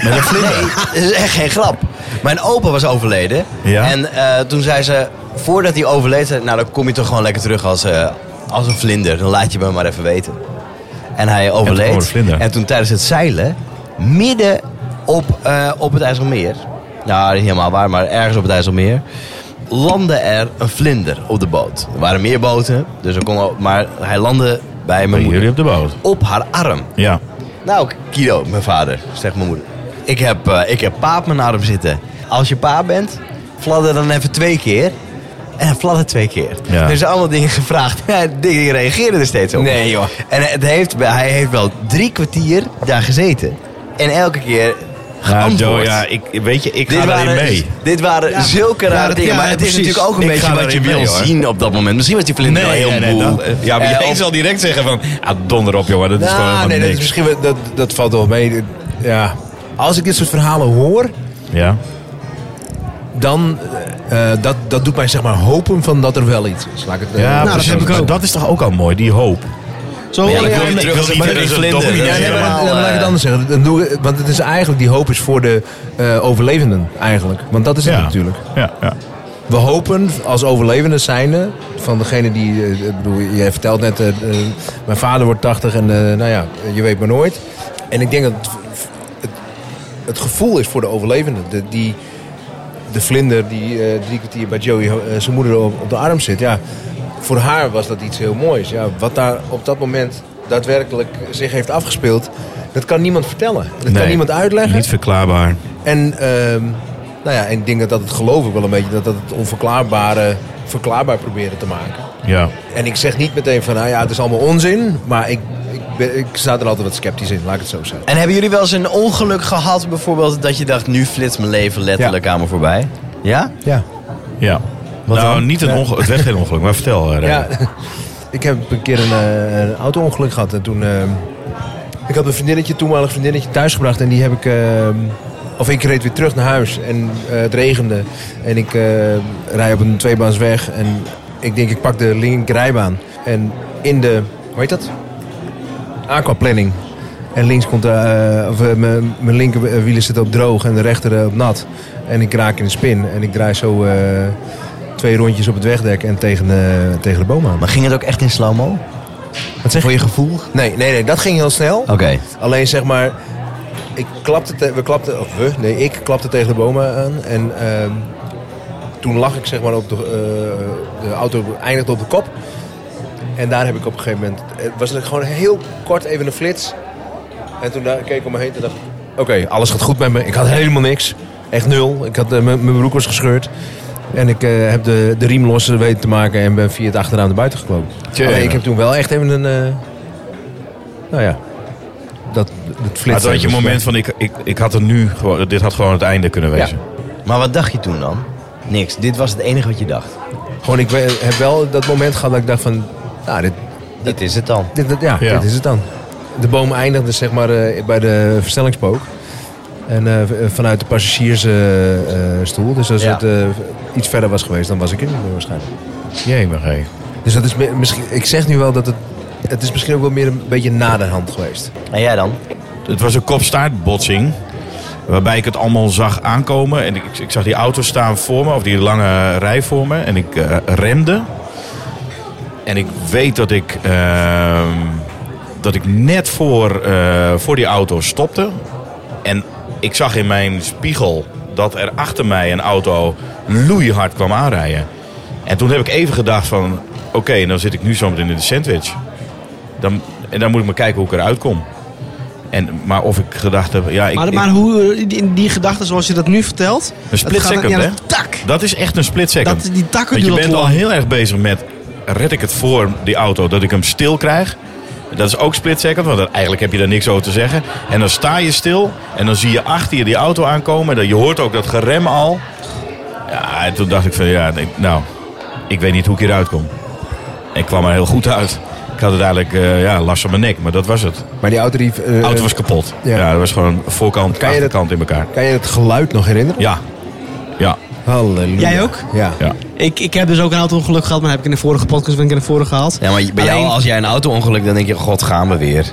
B: Met een vlinder? dat is echt geen grap. Mijn opa was overleden.
C: Ja.
B: En eh, toen zei ze, voordat hij overleed, zei, nou dan kom je toch gewoon lekker terug als, eh, als een vlinder. Dan laat je me maar even weten. En hij overleed.
C: kwam er een vlinder.
B: En toen tijdens het zeilen, midden op, eh, op het IJsselmeer. Nou, dat is niet helemaal waar, maar ergens op het IJsselmeer. Landde er een vlinder op de boot. Er waren meer boten, dus er kon, ook- maar hij landde bij
C: Bij
B: mijn moeder.
C: jullie op de boot.
B: Op haar arm.
C: Ja.
B: Nou, Kido, mijn vader, zegt mijn moeder. Ik heb, eh, ik heb paap mijn arm zitten. Als je pa bent, fladder dan even twee keer. En hij fladdert twee keer.
C: Ja.
B: Er zijn allemaal dingen gevraagd. (laughs) Ja, dingen reageerden er steeds op.
F: Nee, joh.
B: En het heeft, hij heeft wel drie kwartier daar gezeten. En elke keer
C: Ja,
B: geantwoord.
C: Joe, ja, ik, weet je, ik ga daarin mee.
B: dit waren zulke rare
C: Ja,
B: dingen. maar
C: ja,
B: het is
C: precies.
B: natuurlijk ook een
C: Ik ga
B: beetje wat je
C: daarin
B: wil
C: mee, hoor.
B: zien op dat moment. Misschien was die vlinder wel heel moe.
C: dat- ja, maar
B: Eh,
C: jij
B: of-
C: zal direct zeggen van... Ah, donder op, jongen. Dat is gewoon
D: Nou,
C: helemaal
D: nee, dat, is
C: niks.
D: misschien, wel- dat, dat valt wel mee. Ja. Als ik dit soort verhalen hoor,
C: Ja.
D: dan eh, eh, dat, dat doet mij zeg maar hopen van dat er wel iets is. Laat ik het, eh,
C: Ja,
E: dat
C: precies.
E: heb ik
C: Maar
E: ook.
C: Dat is toch ook al mooi, die hoop.
E: Zo,
B: Ja, ik
E: ja,
B: wil niet
C: ik
B: terug
C: wil
B: als een
C: liever
B: vlinder-
C: dat
B: een
C: een
B: vlinder.
C: dominee-
D: Ja, nee, maar
B: Helemaal,
D: dan, dan laat ik het
B: eh,
D: anders zeggen. Dan doe ik- want het is eigenlijk, die hoop is voor de eh, overlevenden eigenlijk. Want dat is het
C: Ja.
D: natuurlijk.
C: Ja, ja.
D: We hopen als overlevenden zijnde, van degene die, eh, ik bedoel, jij vertelt net, eh, eh, mijn vader wordt 80 en eh, nou ja, je weet maar nooit. En ik denk dat het, het, het gevoel is voor de overlevenden. De, die, de vlinder die eh, drie kwartier bij Joey eh, zijn moeder op, op de arm zit. Ja, voor haar was dat iets heel moois. Ja, wat daar op dat moment daadwerkelijk zich heeft afgespeeld, dat kan niemand vertellen. Dat
C: Nee.
D: kan niemand uitleggen.
C: Niet verklaarbaar.
D: En ehm, nou ja, en ik denk dat dat het geloof ik wel een beetje, dat dat het onverklaarbare verklaarbaar proberen te maken.
C: Ja.
D: En ik zeg niet meteen van, nou ja, het is allemaal onzin, maar ik, ik, ben- ik sta er altijd wat sceptisch in, laat ik het zo zeggen.
B: En hebben jullie wel eens een ongeluk gehad, bijvoorbeeld, dat je dacht, nu flitst mijn leven letterlijk aan me voorbij? Ja?
D: Ja.
C: Ja. nou, niet een ongeluk. Het werd geen ongeluk, maar vertel. eh,
D: ja. (laughs)
C: Ray.
D: Ik heb een keer een, eh, een auto-ongeluk gehad en toen, ehm, ik had een vriendinnetje, toenmalig vriendinnetje thuisgebracht en die heb ik, ehm, of ik reed weer terug naar huis en eh, het regende en ik eh rij op een tweebaansweg en ik denk ik pak de linkerrijbaan en in de, hoe heet dat? aquaplanning. En links komt, eh, of, eh, mijn mijn linkerwielen zit op droog en de rechter eh, op nat. En ik raak in een spin en ik draai zo eh, twee rondjes op het wegdek en tegen, de- tegen de boom aan.
B: Maar ging het ook echt in slow-mo?
D: Wat zeg
B: Voor je gevoel?
D: Nee, nee, nee, dat ging heel snel.
B: Oké.
D: Alleen zeg maar, ik klapte, te- we klapten, of we, nee, ik klapte tegen de bomen aan. En ehm, toen lag ik zeg maar op de, eh, de auto, eindigde op de kop. En daar heb ik op een gegeven moment, het was het gewoon heel kort even een flits. En toen daar, keek ik om me heen en dacht, oké, alles gaat goed met me. Ik had helemaal niks. Echt nul. Ik had, eh, mijn mijn broek was gescheurd. En ik eh, heb de, de riem los weten te maken en ben via het achteraan naar buiten geklopt.
C: Tjee.
D: Alleen ik heb toen wel echt even een, eh, nou ja, dat, dat
C: Maar
D: flitsen.
C: toen had je een moment van, ik, ik, ik had er nu gewoon, dit had gewoon het einde kunnen wezen.
B: Maar wat dacht je toen dan? Niks. Dit was het enige wat je dacht.
D: Gewoon, ik we- heb wel dat moment gehad dat ik dacht van, nou, dit,
B: Dit is het dan.
D: dit, dit- ja,
C: Ja.
D: dit is het dan. De boom eindigde zeg maar eh, bij de versnellingspook. En eh, v- eh, vanuit de passagiersstoel. dus als
B: Ja.
D: het eh, iets verder was geweest, dan was ik er niet meer waarschijnlijk.
C: Jee, maar hé.
D: Dus dat is me- misschien, ik zeg nu wel dat het, het is misschien ook wel meer een beetje na de hand geweest.
B: En jij dan?
C: Het was een kopstaartbotsing. Waarbij ik het allemaal zag aankomen. En ik, ik zag die auto staan voor me, of die lange rij voor me. En ik eh, remde. En ik weet dat ik, ehm, dat ik net voor, eh, voor die auto stopte. En ik zag in mijn spiegel dat er achter mij een auto loeihard kwam aanrijden. En toen heb ik even gedacht van... Oké, en dan zit ik nu zometeen in de sandwich. Dan, en dan moet ik maar kijken hoe ik eruit kom. En, maar of ik gedacht heb... Ja, ik,
E: maar,
C: ik-
E: maar hoe, eh, die, die gedachte zoals je dat nu vertelt.
C: Een split
E: dat gaat-
C: second,
E: ja,
C: hè?
E: dat- Tak!
C: dat is echt een split second.
E: Dat, die takken
C: Want je
E: duren
C: bent
E: te
C: al
E: lang.
C: heel erg bezig met... Red ik het voor die auto dat ik hem stil krijg? Dat is ook split second, want dat- eigenlijk heb je daar niks over te zeggen. En dan sta je stil en dan zie je achter je die auto aankomen. En dan- je hoort ook dat gerem al. Ja, en toen dacht ik van ja, ik- nou, ik weet niet hoe ik hieruit kom. Ik kwam er heel goed uit. Ik had uiteindelijk eh ja, last van mijn nek, maar dat was het.
D: Maar die auto die... eh,
C: De auto was kapot.
D: ja.
C: Ja, dat was gewoon voorkant,
D: Kan je dat-
C: achterkant in elkaar.
D: Kan je het geluid nog herinneren?
C: Ja, ja,
D: Halleluja.
E: Jij ook?
D: Ja.
C: ja.
E: Ik, ik heb dus ook een auto-ongeluk gehad, maar heb ik in de vorige podcast ben ik in de vorige gehaald.
B: Ja, maar bij jou,
E: Alleen-
B: als jij een auto-ongeluk, dan denk je, god, gaan we weer.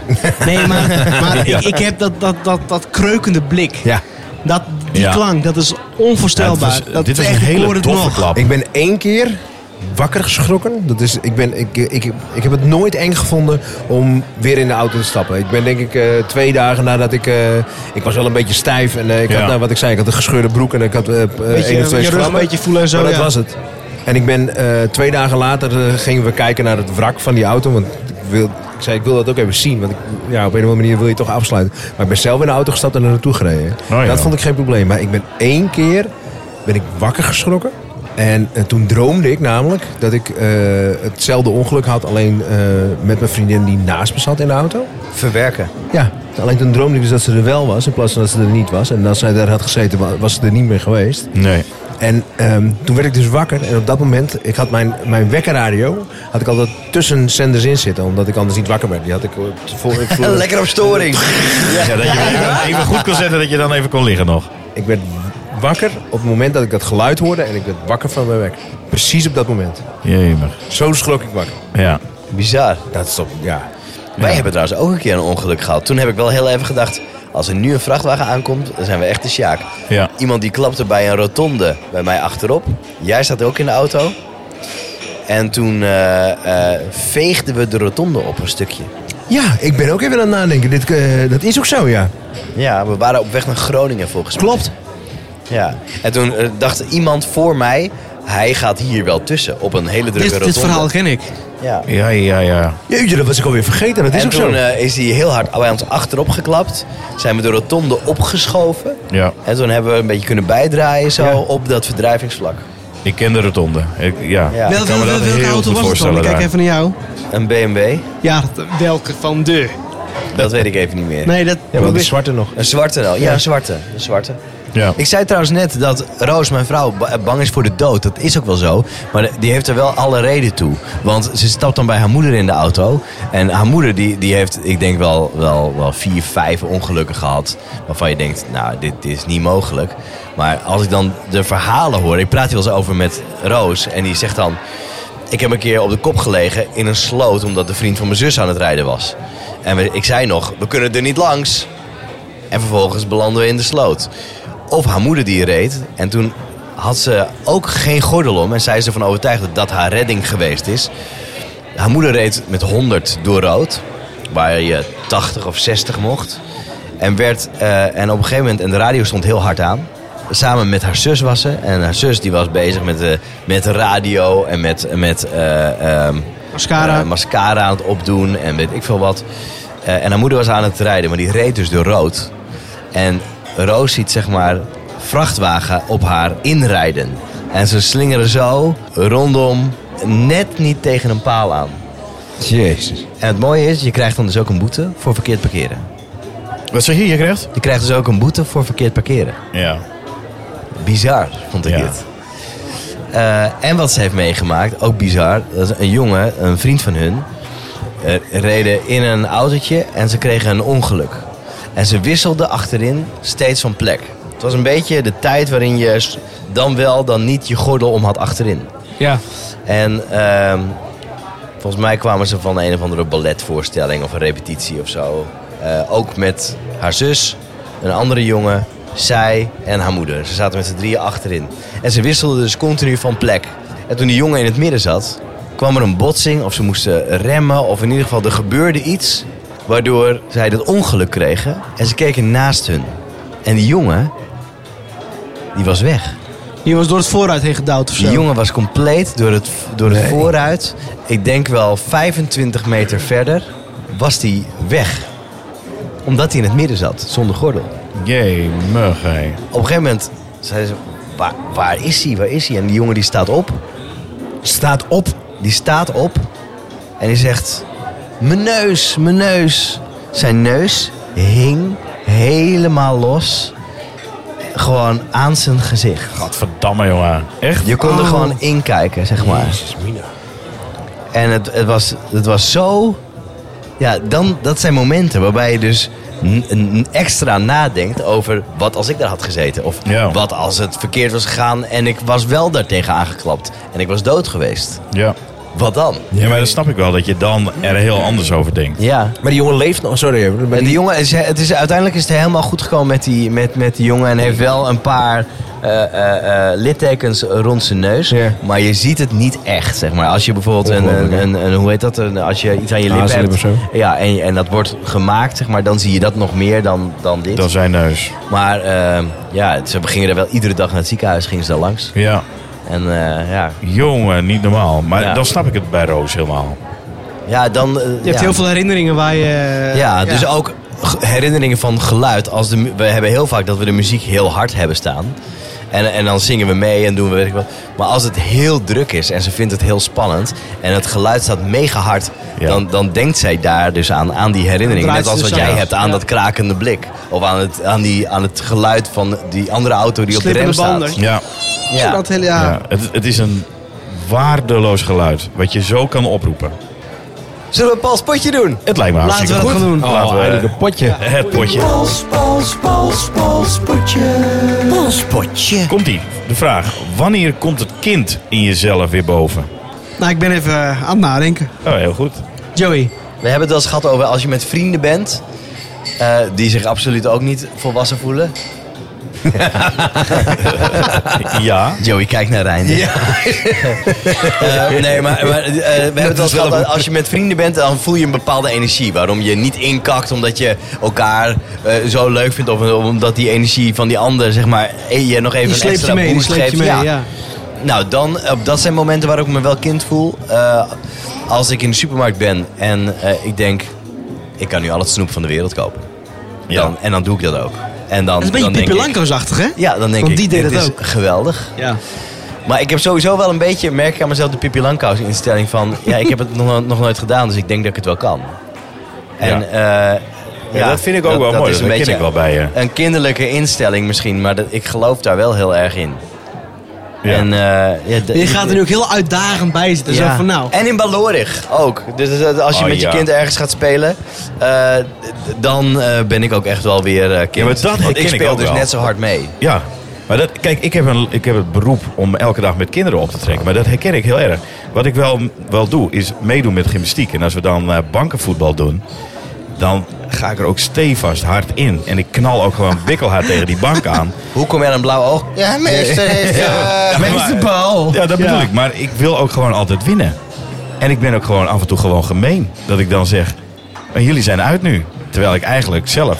C: (laughs)
E: Nee, maar, maar
C: Ja.
E: ik, ik heb dat, dat, dat, dat kreukende blik.
D: Ja.
E: Dat, die
C: Ja.
E: klank, dat is
C: Ja,
E: onvoorstelbaar.
C: het was-
E: dat
C: dit was
E: is
C: een
E: echt, ik hoor
C: hele
E: het
C: toffe
E: nog.
C: klap.
D: Ik ben één keer wakker geschrokken. Dat is, ik, ben, ik, ik, ik heb het nooit eng gevonden om weer in de auto te stappen. Ik ben denk ik eh, twee dagen nadat ik... eh, ik was wel een beetje stijf. En eh, ik had,
C: Ja.
D: nou, wat ik zei, ik had een gescheurde broek. En ik had eh, eh,
E: Beetje,
D: één of twee
E: eh, je rug een
D: schrammen.
E: beetje voelen en zo.
D: Maar dat
E: ja.
D: was het. En ik ben eh, twee dagen later eh, gingen we kijken naar het wrak van die auto. Want ik, wil, ik zei, ik wil dat ook even zien. Want ik, ja, op een of andere manier wil je het toch afsluiten. Maar ik ben zelf in de auto gestapt en er naartoe gereden.
C: ja.
D: Dat vond ik geen probleem. Maar ik ben één keer ben ik wakker geschrokken. En eh, toen droomde ik namelijk dat ik eh, hetzelfde ongeluk had, alleen eh, met mijn vriendin die naast me zat in de auto.
B: Verwerken.
D: Ja, alleen toen droomde ik dus dat ze er wel was in plaats van dat ze er niet was. En als zij daar had gezeten, wa- was ze er niet meer geweest.
C: Nee.
D: En ehm, toen werd ik dus wakker en op dat moment, ik had mijn, mijn wekkerradio, had ik altijd tussen zenders in zitten, omdat ik anders niet wakker werd. Die had ik op de voor- ik vloer-
B: (laughs) (laughs) Lekker op storing.
C: Ja, dat je hem even, even goed kon zetten dat je dan even kon liggen nog.
D: Ik werd wakker op het moment dat ik dat geluid hoorde en ik werd wakker van mijn wekker. Precies op dat moment.
C: Jemig.
D: Zo schrok ik wakker.
C: Ja.
B: Bizar.
D: Dat is toch, ja.
B: Wij hebben trouwens ook een keer een ongeluk gehad. Toen heb ik wel heel even gedacht, als er nu een vrachtwagen aankomt, dan zijn we echt de sjaak.
C: Ja.
B: Iemand die klapte bij een rotonde bij mij achterop. Jij zat ook in de auto. En toen eh, eh, veegden we de rotonde op een stukje.
D: Ja, ik ben ook even aan het nadenken. Dit, eh, dat is ook zo, ja.
B: Ja, we waren op weg naar Groningen volgens mij.
D: Klopt.
B: Ja. En toen eh, dacht iemand voor mij, hij gaat hier wel tussen op een hele drukke
E: Dit, dit
B: rotonde.
E: verhaal ken ik.
B: Ja.
C: Ja, ja, ja.
D: Jeetje, dat was ik alweer vergeten. Dat is
B: en
D: ook zo.
B: toen eh, is hij heel hard bij ons achterop geklapt. Zijn we de rotonde opgeschoven.
C: Ja.
B: En toen hebben we een beetje kunnen bijdraaien zo op dat verdrijvingsvlak.
C: Ik ken de rotonde. Ik, ja.
B: Ja.
C: Ik kan me dat
E: welke
C: heel
E: auto
C: goed
E: was het dan?
C: voorstellen
E: Ik kijk
C: daar.
E: even naar jou.
B: Een BMW,
E: Ja, dat- welke van de?
B: dat weet ik even niet meer.
E: Nee, dat...
D: Ja, want de zwarte nog.
B: Een zwarte wel. Ja, een zwarte. Een zwarte.
C: Ja.
B: Ik zei trouwens net dat Roos, mijn vrouw, ba- bang is voor de dood. Dat is ook wel zo. Maar de- die heeft er wel alle reden toe. Want ze stapt dan bij haar moeder in de auto. En haar moeder die, die heeft, ik denk wel, wel, wel vier, vijf ongelukken gehad. Waarvan je denkt, nou, dit, dit is niet mogelijk. Maar als ik dan de verhalen hoor. Ik praat hier wel eens over met Roos. En die zegt dan... Ik heb een keer op de kop gelegen in een sloot... omdat de vriend van mijn zus aan het rijden was. En we- ik zei nog, we kunnen er niet langs. En vervolgens belanden we in de sloot. Of haar moeder die reed. En toen had ze ook geen gordel om. En zij is ervan overtuigd dat dat haar redding geweest is. Haar moeder reed met 100 door rood. Waar je 80 of 60 mocht. En, werd, eh, en op een gegeven moment, en de radio stond heel hard aan. Samen met haar zus was ze. En haar zus die was bezig met de, met de radio en met, met eh, ehm,
E: Mascara.
B: eh, mascara aan het opdoen en weet ik veel wat. Eh, en haar moeder was aan het rijden, maar die reed dus door rood. En Roos ziet zeg maar vrachtwagen op haar inrijden. En ze slingeren zo rondom net niet tegen een paal aan.
D: Jezus.
B: En het mooie is, je krijgt dan dus ook een boete voor verkeerd parkeren.
C: Wat zeg je? Je krijgt?
B: Je krijgt dus ook een boete voor verkeerd parkeren.
C: Ja.
B: Bizar, vond ik
C: Ja.
B: dit. Eh, en wat ze heeft meegemaakt, ook bizar. Dat is een jongen, een vriend van hun, eh, reden in een autootje en ze kregen een ongeluk. En ze wisselden achterin steeds van plek. Het was een beetje de tijd waarin je s- dan wel, dan niet je gordel om had achterin.
E: Ja.
B: En ehm, volgens mij kwamen ze van een of andere balletvoorstelling of een repetitie of zo. Eh, ook met haar zus, een andere jongen, zij en haar moeder. Ze zaten met z'n drieën achterin. En ze wisselden dus continu van plek. En toen die jongen in het midden zat, kwam er een botsing of ze moesten remmen. Of in ieder geval er gebeurde iets waardoor zij dat ongeluk kregen. En ze keken naast hun. En die jongen, die was weg.
E: Die was door het vooruit heen gedouwd of zo.
B: Die jongen was compleet door het, door het vooruit. Ik denk wel 25 meter verder was hij weg. Omdat hij in het midden zat, zonder gordel.
C: Jemig, hé.
B: Op een gegeven moment zei ze, waar, waar is hij, waar is hij? En die jongen die staat op. Staat op. Die staat op. En die zegt, mijn neus, mijn neus. Zijn neus hing helemaal los. Gewoon aan zijn gezicht.
C: Gadverdamme, jongen. Echt?
B: Je kon er
E: Oh.
B: gewoon in kijken, zeg maar. En het, het, was, het was zo... Ja, dan, dat zijn momenten waarbij je dus n- n- extra nadenkt over wat als ik daar had gezeten. Of
C: Ja.
B: wat als het verkeerd was gegaan en ik was wel daartegen aangeklapt. En ik was dood geweest.
C: Ja.
B: Wat dan?
C: Ja, maar dat snap ik wel, dat je dan er heel anders over denkt.
B: Ja.
D: Maar die jongen leeft nog. Sorry even. Maar
B: En
D: die-
B: die jongen, is, het is, uiteindelijk is het helemaal goed gekomen met die, met, met die jongen. En heeft wel een paar eh, eh, eh, littekens rond zijn neus.
D: Ja.
B: Maar je ziet het niet echt, zeg maar. Als je bijvoorbeeld een, een,
D: Ongelooflijk,
B: een, een- hoe heet dat, een, als je iets aan je lip
D: Hazellip
B: hebt.
D: of zo.
B: Ja, en, en dat wordt gemaakt, zeg maar. Dan zie je dat nog meer dan, dan dit.
C: Dat is zijn neus.
B: Maar eh, ja, ze gingen er wel iedere dag naar het ziekenhuis, gingen ze daar langs.
C: Ja.
B: En eh, ja,
C: Jongen, niet normaal. Maar
B: Ja.
C: dan snap ik het bij Roos helemaal.
B: ja, dan... eh,
E: Je hebt
B: ja.
E: heel veel herinneringen waar je...
B: Ja, dus ook g- herinneringen van geluid. Als de, mu- we hebben heel vaak dat we de muziek heel hard hebben staan. En, en dan zingen we mee en doen we weet ik wat. Maar als het heel druk is en ze vindt het heel spannend en het geluid staat mega hard,
C: Ja.
B: dan, dan denkt zij daar dus aan, aan die herinnering.
E: Dan draait
B: Net
E: ze
B: als
E: dus
B: wat jij
E: aan.
B: hebt aan
E: Ja.
B: dat krakende blik. Of aan het, aan, die, aan het geluid van die andere auto die op de rem
E: Slippende
B: staat.
E: banden.
C: Ja.
B: Ja.
E: eh, Dat hele, ja.
C: Ja, het, het is een waardeloos geluid wat je zo kan oproepen.
B: Zullen we een Pauls potje doen?
C: Het lijkt me hartstikke
E: we dat
C: goed.
E: gaan doen.
C: Oh, Laten we
D: Eigenlijk een potje.
C: het potje.
B: Polspotje.
C: Komt ie. De vraag. Wanneer komt het kind in jezelf weer boven?
E: Nou, ik ben even eh, aan het nadenken.
C: Oh, heel
E: (laughs)
C: goed.
E: Joey.
B: We hebben het wel eens gehad over als je met vrienden bent. eh, die zich absoluut ook niet volwassen voelen.
C: Ja.
B: Joey, kijk naar Rijn. (laughs) Eh, nee, maar, maar eh, we hebben het wel eens gehad. Als je met vrienden bent, dan voel je een bepaalde energie. Waarom je niet inkakt omdat je elkaar eh, zo leuk vindt. Of omdat die energie van die ander, zeg maar, eh, je nog even
E: Die
B: een
E: sleept
B: extra
E: je mee, die
B: boost
E: sleept
B: geeft.
E: je mee, ja.
B: Nou, dan, op dat zijn momenten waar ik me wel kind voel. Eh, als ik in de supermarkt ben en eh, ik denk, ik kan nu al het snoep van de wereld kopen.
C: Ja.
B: Dan, en dan doe ik dat ook. En dan,
E: Dat is een beetje
B: dan denk
E: Pippi
B: ik-
E: Lanko's-achtig, hè?
B: Ja, dan denk
E: Want
B: ik,
E: die deed
B: dit
E: het
B: is
E: ook.
B: geweldig.
E: Ja.
B: Maar ik heb sowieso wel een beetje, merk ik aan mezelf, de Pippi Langkous instelling van... ja, ik heb het (laughs) nog, nog nooit gedaan, dus ik denk dat ik het wel kan. En,
C: Ja.
B: eh, ja,
C: dat vind ik ook wel
B: dat
C: mooi.
B: is
C: Dat ken ik wel bij je.
B: Een kinderlijke instelling misschien, maar dat, ik geloof daar wel heel erg in.
C: Ja.
B: En, eh, ja, d-
E: Je gaat er nu ook heel uitdagend bij zitten.
B: ja.
E: Zo van nou.
B: En in Balorig ook. Dus eh, als je
C: Oh,
B: met
C: ja.
B: je kind ergens gaat spelen, eh, d- d- dan eh, ben ik ook echt wel weer eh kind.
C: Ja, maar dat
B: Want
C: herken
B: ik
C: ik
B: speel
C: ook
B: dus
C: wel.
B: net zo hard mee.
C: Ja, maar dat, kijk, ik heb, een, ik heb het beroep om elke dag met kinderen op te trekken. Maar dat herken ik heel erg. Wat ik wel, wel doe, is meedoen met gymnastiek. En als we dan eh, bankenvoetbal doen, dan ga ik er ook stevast hard in. En ik knal ook
E: (laughs)
C: gewoon bikkelhard tegen die bank aan.
B: Hoe kom jij aan een blauw oog? (laughs) Ja, meester heeft... eh,
C: Ja, maar-
E: bal.
C: Ja, dat bedoel ik. Maar ik wil ook gewoon altijd winnen. En ik ben ook gewoon af en toe gewoon gemeen. Dat ik dan zeg, "Maar jullie zijn uit nu. Terwijl ik eigenlijk zelf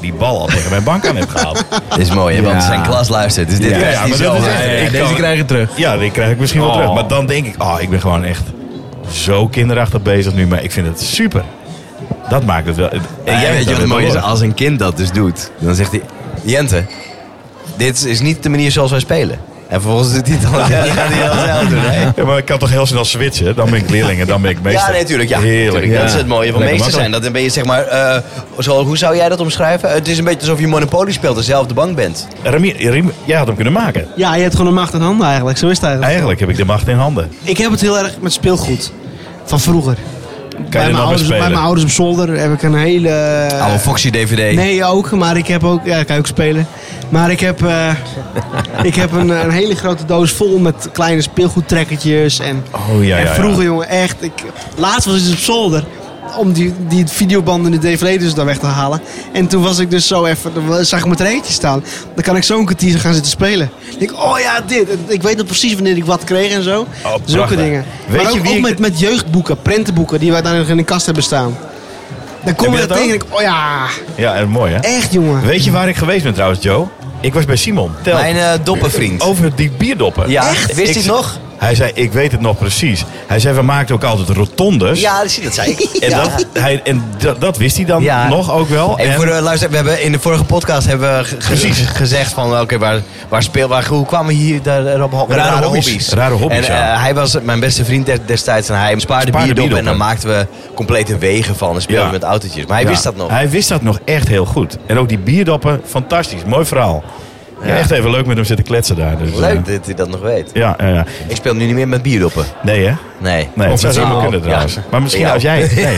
C: die bal al tegen mijn bank aan heb gehaald.
B: (laughs) Dit is mooi, hè? want
D: Ja.
B: zijn klas luistert. Dus dit
C: Ja,
B: is
C: ja,
B: niet
C: maar
B: zo.
C: dat is echt-
B: Ja, ja,
C: ik
B: ja.
C: kan-
D: Deze krijg je terug.
C: Ja, die krijg ik misschien wel
D: Oh.
C: terug. Maar dan denk ik, oh, ik ben gewoon echt zo kinderachtig bezig nu. Maar ik vind het super. Dat maakt het wel. En
B: En jij weet je wat
C: het
B: het mooie is? Als een kind dat dus doet, dan zegt hij... Jente, dit is niet de manier zoals wij spelen. En vervolgens doet hij
C: (laughs)
B: het dan. Ja, die gaat hij dan zelf doen. hè?
C: (laughs) Ja, maar ik kan toch heel snel switchen? Dan ben ik leerling en dan ben ik meester.
B: Ja, nee, tuurlijk. Ja,
C: Heerlijk.
B: tuurlijk. Dat
C: Ja.
B: is het mooie van
C: Lekker
B: meester zijn.
C: makkelijk.
B: Dat dan ben je zeg maar... eh, zo, hoe zou jij dat omschrijven? Het is een beetje alsof je Monopoly speelt en zelf de bank bent.
C: Remy, Remy, jij had hem kunnen maken.
E: Ja, je hebt gewoon de macht in handen eigenlijk. Zo is het eigenlijk.
C: Eigenlijk heb ik de macht in handen.
E: Ik heb het heel erg met speelgoed. Van vroeger.
C: Kan je
E: bij,
C: er nog
E: mijn
C: mee
E: ouders, bij mijn
C: spelen?
E: ouders op zolder heb ik een hele... eh,
C: Oh,
B: Oude Foxy-DVD.
E: Nee, ook. Maar ik heb ook... Ja, kan je ook spelen. Maar ik heb, eh, ik heb een, een hele grote doos vol met kleine speelgoedtrekkertjes. En,
C: Oh ja, ja, ja.
E: en vroeger, jongen, echt. Ik, laatst was ik dus op zolder. Om die, die videobanden en de dvd dus daar weg te halen. En toen was ik dus zo even... Dan zag ik mijn treintje staan. Dan kan ik zo'n kwartier gaan zitten spelen. Dan denk ik, oh ja, dit. En Ik weet nog precies wanneer ik wat kreeg en zo. Dus Zulke
C: Oh, prachtig.
E: dingen.
C: Weet
E: maar
C: je
E: ook,
C: wie
E: ook
C: ik-
E: met, met jeugdboeken, prentenboeken... die wij daar nog in de kast hebben staan. Dan kom
C: Heb
E: je
C: je
E: dat
C: dat
E: tegen en
C: ook?
E: denk ik, oh ja,
C: Ja, en mooi hè?
E: echt jongen.
C: Weet je waar ik geweest ben trouwens, Joe? Ik was bij Simon. Tel.
B: Mijn eh, doppenvriend.
C: Over die bierdoppen.
B: Ja, wist
C: Ik-
B: hij het nog?
C: Hij zei, ik weet het nog precies. Hij zei, we maakten ook altijd rotondes.
B: Ja, dat zie je, dat zei ik.
C: (laughs) En, dat, hij, en dat, dat wist hij dan
B: Ja.
C: nog ook wel.
B: Even
C: En-
B: voor de luister, we hebben in de vorige podcast hebben we ge- ge-
C: Precies.
B: gezegd van oké, waar, waar speel, waar, hoe kwamen we hier daar, daarop ho-
C: Rare hobby's. Rare hobby's,
B: En,
C: ja.
B: eh, hij was mijn beste vriend des- destijds en hij spaarde, bier op en
C: bierdoppen.
B: dan maakten we complete wegen van en speelden
C: Ja.
B: we met autootjes. Maar hij
C: Ja.
B: wist dat nog.
C: Hij wist dat nog echt heel goed. En ook die bierdoppen, fantastisch. Mooi verhaal. Ja, echt even leuk met hem zitten kletsen daar. Dus,
B: Leuk
C: eh,
B: dat hij dat nog weet.
C: ja, ja, ja.
B: Ik speel nu niet meer met bierdoppen.
C: Nee hè?
B: Nee.
C: Nee,
B: Of
C: dat zou
B: iets-
C: helemaal kunnen
B: Ja.
C: trouwens. Maar misschien
B: Ja.
C: als
B: (laughs)
C: jij... Nee.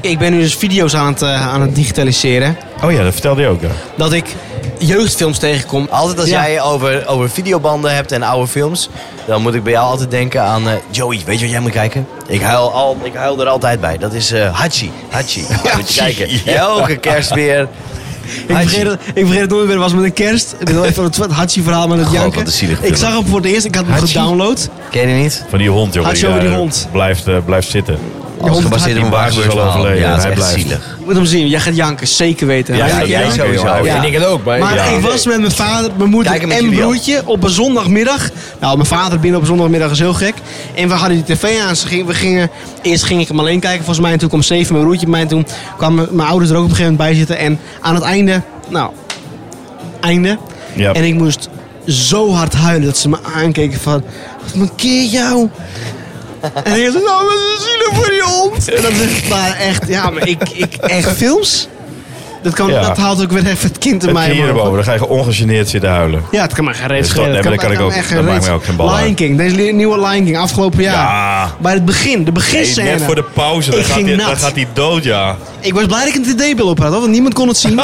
E: Ik ben nu dus video's aan het, eh, aan het digitaliseren.
C: Oh ja, dat vertelde je ook. ja.
E: Dat ik jeugdfilms tegenkom.
B: Altijd als
E: Ja.
B: jij over, over videobanden hebt en oude films, dan moet ik bij jou altijd denken aan eh, Joey. Weet je wat jij moet kijken? Ik huil, al, ik huil er altijd bij. Dat is eh Hachi. (laughs) Hachi. moet je kijken. Elke kerst weer.
E: Ik vergeet, het, ik vergeet het nooit meer. Het was met een kerst. Ik wil even het Hachi-verhaal met het
B: God,
E: janken.
B: wat een zielige film.
E: ik zag hem voor het eerst. Ik had hem
C: Hachi?
E: gedownload.
B: Ken je die niet?
C: Van die hond, jongen.
E: Had je over die
C: daar
E: hond?
C: Blijft, eh, blijft zitten.
E: hond
B: Als gebaseerd op
E: Hachi.
B: een waar
C: Die baas is al
B: gebeurd verhaal.
C: overleden.
B: Ja, dat is
C: Hij
B: echt
C: blijft.
B: zielig.
E: Ik moet hem zien. Jij gaat janken. Zeker weten.
C: Ja,
E: Hij-
B: Ja,
C: ik
B: jij
C: janken,
B: sowieso.
C: jongen.
B: Ja.
D: En ik het ook, maar...
E: Maar
C: Ja.
E: ik was met mijn vader, mijn moeder
B: Kijken met
E: en
B: jullie al.
E: broertje op een zondagmiddag. Nou, mijn vader binnen op een zondagmiddag is heel gek. En we hadden die tv aan. Ze gingen, we gingen, eerst ging ik hem alleen kijken volgens mij. En toen kwam zeven mijn broertje bij mij. En toen kwamen mijn ouders er ook op een gegeven moment bij zitten. En aan het einde, nou, einde.
C: Ja.
E: En ik moest zo hard huilen dat ze me aankeken van... Wat mankeer jou? En ik zei, nou, wat is een zielig voor die hond. En dan dacht ik, maar echt, ja, maar ik, ik echt films? Dat, kan,
C: Ja.
E: dat haalt ook weer even het kind in
C: Het
E: mij.
C: hier
E: omhoog.
C: boven, dan ga je ongegeneerd zitten huilen.
E: Ja, het kan maar geen reet
C: Dus dat-
E: schelen.
C: nee,
E: Het
C: maar dat kan ik
E: me
C: ook.
E: echt geen
C: Dat
E: reet
C: maakt me ook geen bal
E: Lion
C: uit.
E: King, deze li- nieuwe Lion King afgelopen jaar.
C: Ja.
E: Bij het begin, de
C: Hey,
E: beginscène.
C: net voor de pauze,
E: Ik
C: dan gaat,
E: ging
C: hij,
E: nat.
C: dan gaat hij dood,
E: (laughs)
C: ja.
E: Ik was blij dat ik een TD-bil op had, hoor, want niemand kon het zien.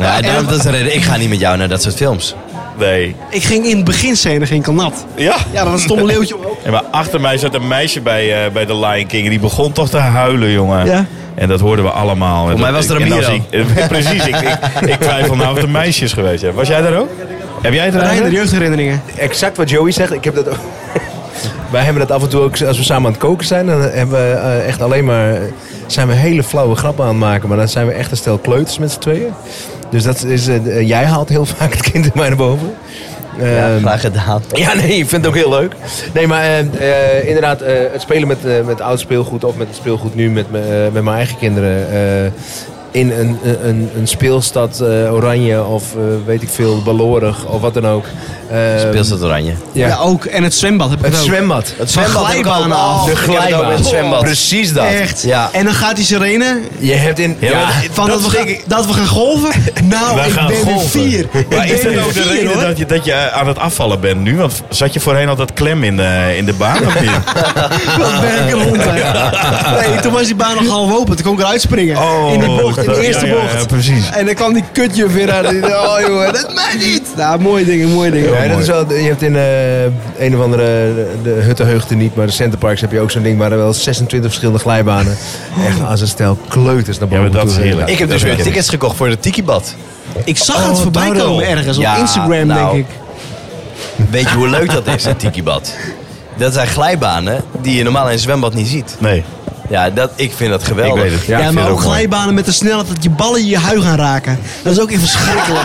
B: Ja, daarom, dat is de reden. Ik ga niet met jou naar dat soort films.
C: Nee.
E: ik ging in de beginscène ging ik al nat.
C: Ja.
E: Ja, dat was een
C: (laughs)
E: stomme leeuwtje omhoog.
C: Ja, maar achter mij zat een meisje bij, eh, bij de Lion King. En die begon toch te huilen, jongen.
E: Ja.
C: En dat hoorden we allemaal. Voor
B: mij was er een
C: Precies, ik, (laughs) ik, ik twijfel nou of het een meisje is geweest. hè. Was jij daar ook? Heb jij het er
E: Reiner,
C: eigenlijk?
E: jeugdherinneringen.
D: Exact wat Joey zegt. Ik heb dat ook. (laughs) Wij hebben dat af en toe ook, als we samen aan het koken zijn, dan hebben we eh, echt alleen maar, zijn we hele flauwe grappen aan het maken. Maar dan zijn we echt een stel kleuters met z'n tweeën. Dus dat is, eh, jij haalt heel (laughs) vaak het kind in mij naar boven.
B: Ja,
D: Ehm,
B: graag gedaan.
D: Ja, nee, ik vind het ook heel leuk. Nee, maar eh, eh, inderdaad, eh, het spelen met, eh, met oud speelgoed of met het speelgoed nu met, me- eh, met mijn eigen kinderen. eh, in een, een, een speelstad eh, Oranje of eh, weet ik veel, Balorig of wat dan ook. Eh,
B: Speelstad Oranje.
E: Ja.
D: ja.
E: ook. En het zwembad heb ik
D: Het
E: ook.
D: zwembad.
B: Het
E: Van
B: heb ik
E: glijbanen
B: ook al.
E: af.
B: Ik
D: De
B: heb het ook
D: glijbaan.
B: met het zwembad.
D: Precies dat.
E: Echt.
B: Ja.
E: En dan gaat die sirene.
D: Je hebt in... Ja,
E: Van dat, we, gaan- dat we gaan golven. Nou,
C: Wij
E: ik
C: gaan
E: ben weer
C: golven.
E: vier. Ik
C: Maar
E: ben
C: is dat
E: weer
C: ook de
E: vier,
C: reden
E: hoor.
C: dat je, dat je aan het afvallen bent nu? Want zat je voorheen altijd klem in de, in de baan of niet?
E: Wat ben ik een hond, hè? Nee, toen was die baan nog half open. Toen kon ik eruit springen. (laughs) in die bocht, in
C: Oh, dat-
E: de eerste
C: ja, ja,
E: bocht. Eh,
C: ja, precies.
E: En dan kwam die kutje weer aan. Die zei, oh jongen, dat mij niet. Nou, mooie dingen, mooie dingen.
D: Ja, dat
C: mooi.
D: is wel, je hebt in eh, een of andere, de huttenheugde niet, maar de Centerparks heb je ook zo'n ding waar er wel 26 verschillende glijbanen. Echt als een stel kleuters naar
C: Ja,
D: boven
C: maar dat
D: toe
C: is
D: rennen.
C: heerlijk.
B: Ik heb dus
C: Dat
B: weer
C: weet ik.
B: tickets gekocht voor de Tikibad.
E: Ik zag het
C: Oh,
E: voorbij
C: Darrell.
E: komen ergens op
B: Ja,
E: Instagram,
B: nou.
E: denk ik.
B: Weet je hoe leuk dat is, het Tikibad? (laughs) Dat zijn glijbanen die je normaal in een zwembad niet ziet.
C: Nee,
B: Ja, dat, ik vind dat geweldig.
C: ik weet het.
E: Ja,
C: ik vind
E: maar
C: het
E: ook
C: mooi.
E: glijbanen met de snelheid dat je ballen je huig gaan raken. Dat is ook echt
C: (laughs)
E: verschrikkelijk.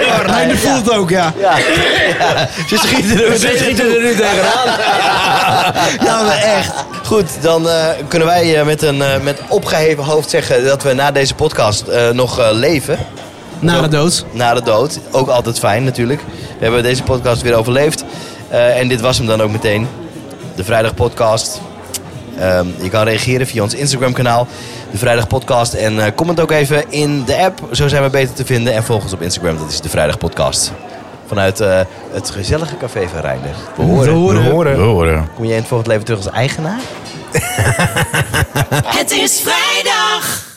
E: ja, Reiner voelt het ook, ja.
B: Ja, ja. Ze schieten er, ze schieten er (laughs) nu tegenaan. Ja, maar echt. Goed, dan eh, kunnen wij eh, met een eh, met opgeheven hoofd zeggen dat we na deze podcast eh, nog eh, leven.
E: Na de dood.
B: Na de dood. Ook altijd fijn natuurlijk. We hebben deze podcast weer overleefd. Eh, en dit was hem dan ook meteen. De Vrijdag Podcast. Ehm, je kan reageren via ons Instagram kanaal. De Vrijdag Podcast. En eh, comment ook even in de app. Zo zijn we beter te vinden. En volg ons op Instagram. Dat is de Vrijdag Podcast. Vanuit eh, het gezellige café van Reinder. We horen.
D: We horen.
C: We horen.
B: Kom je in het volgend leven terug als eigenaar?
A: Het is vrijdag.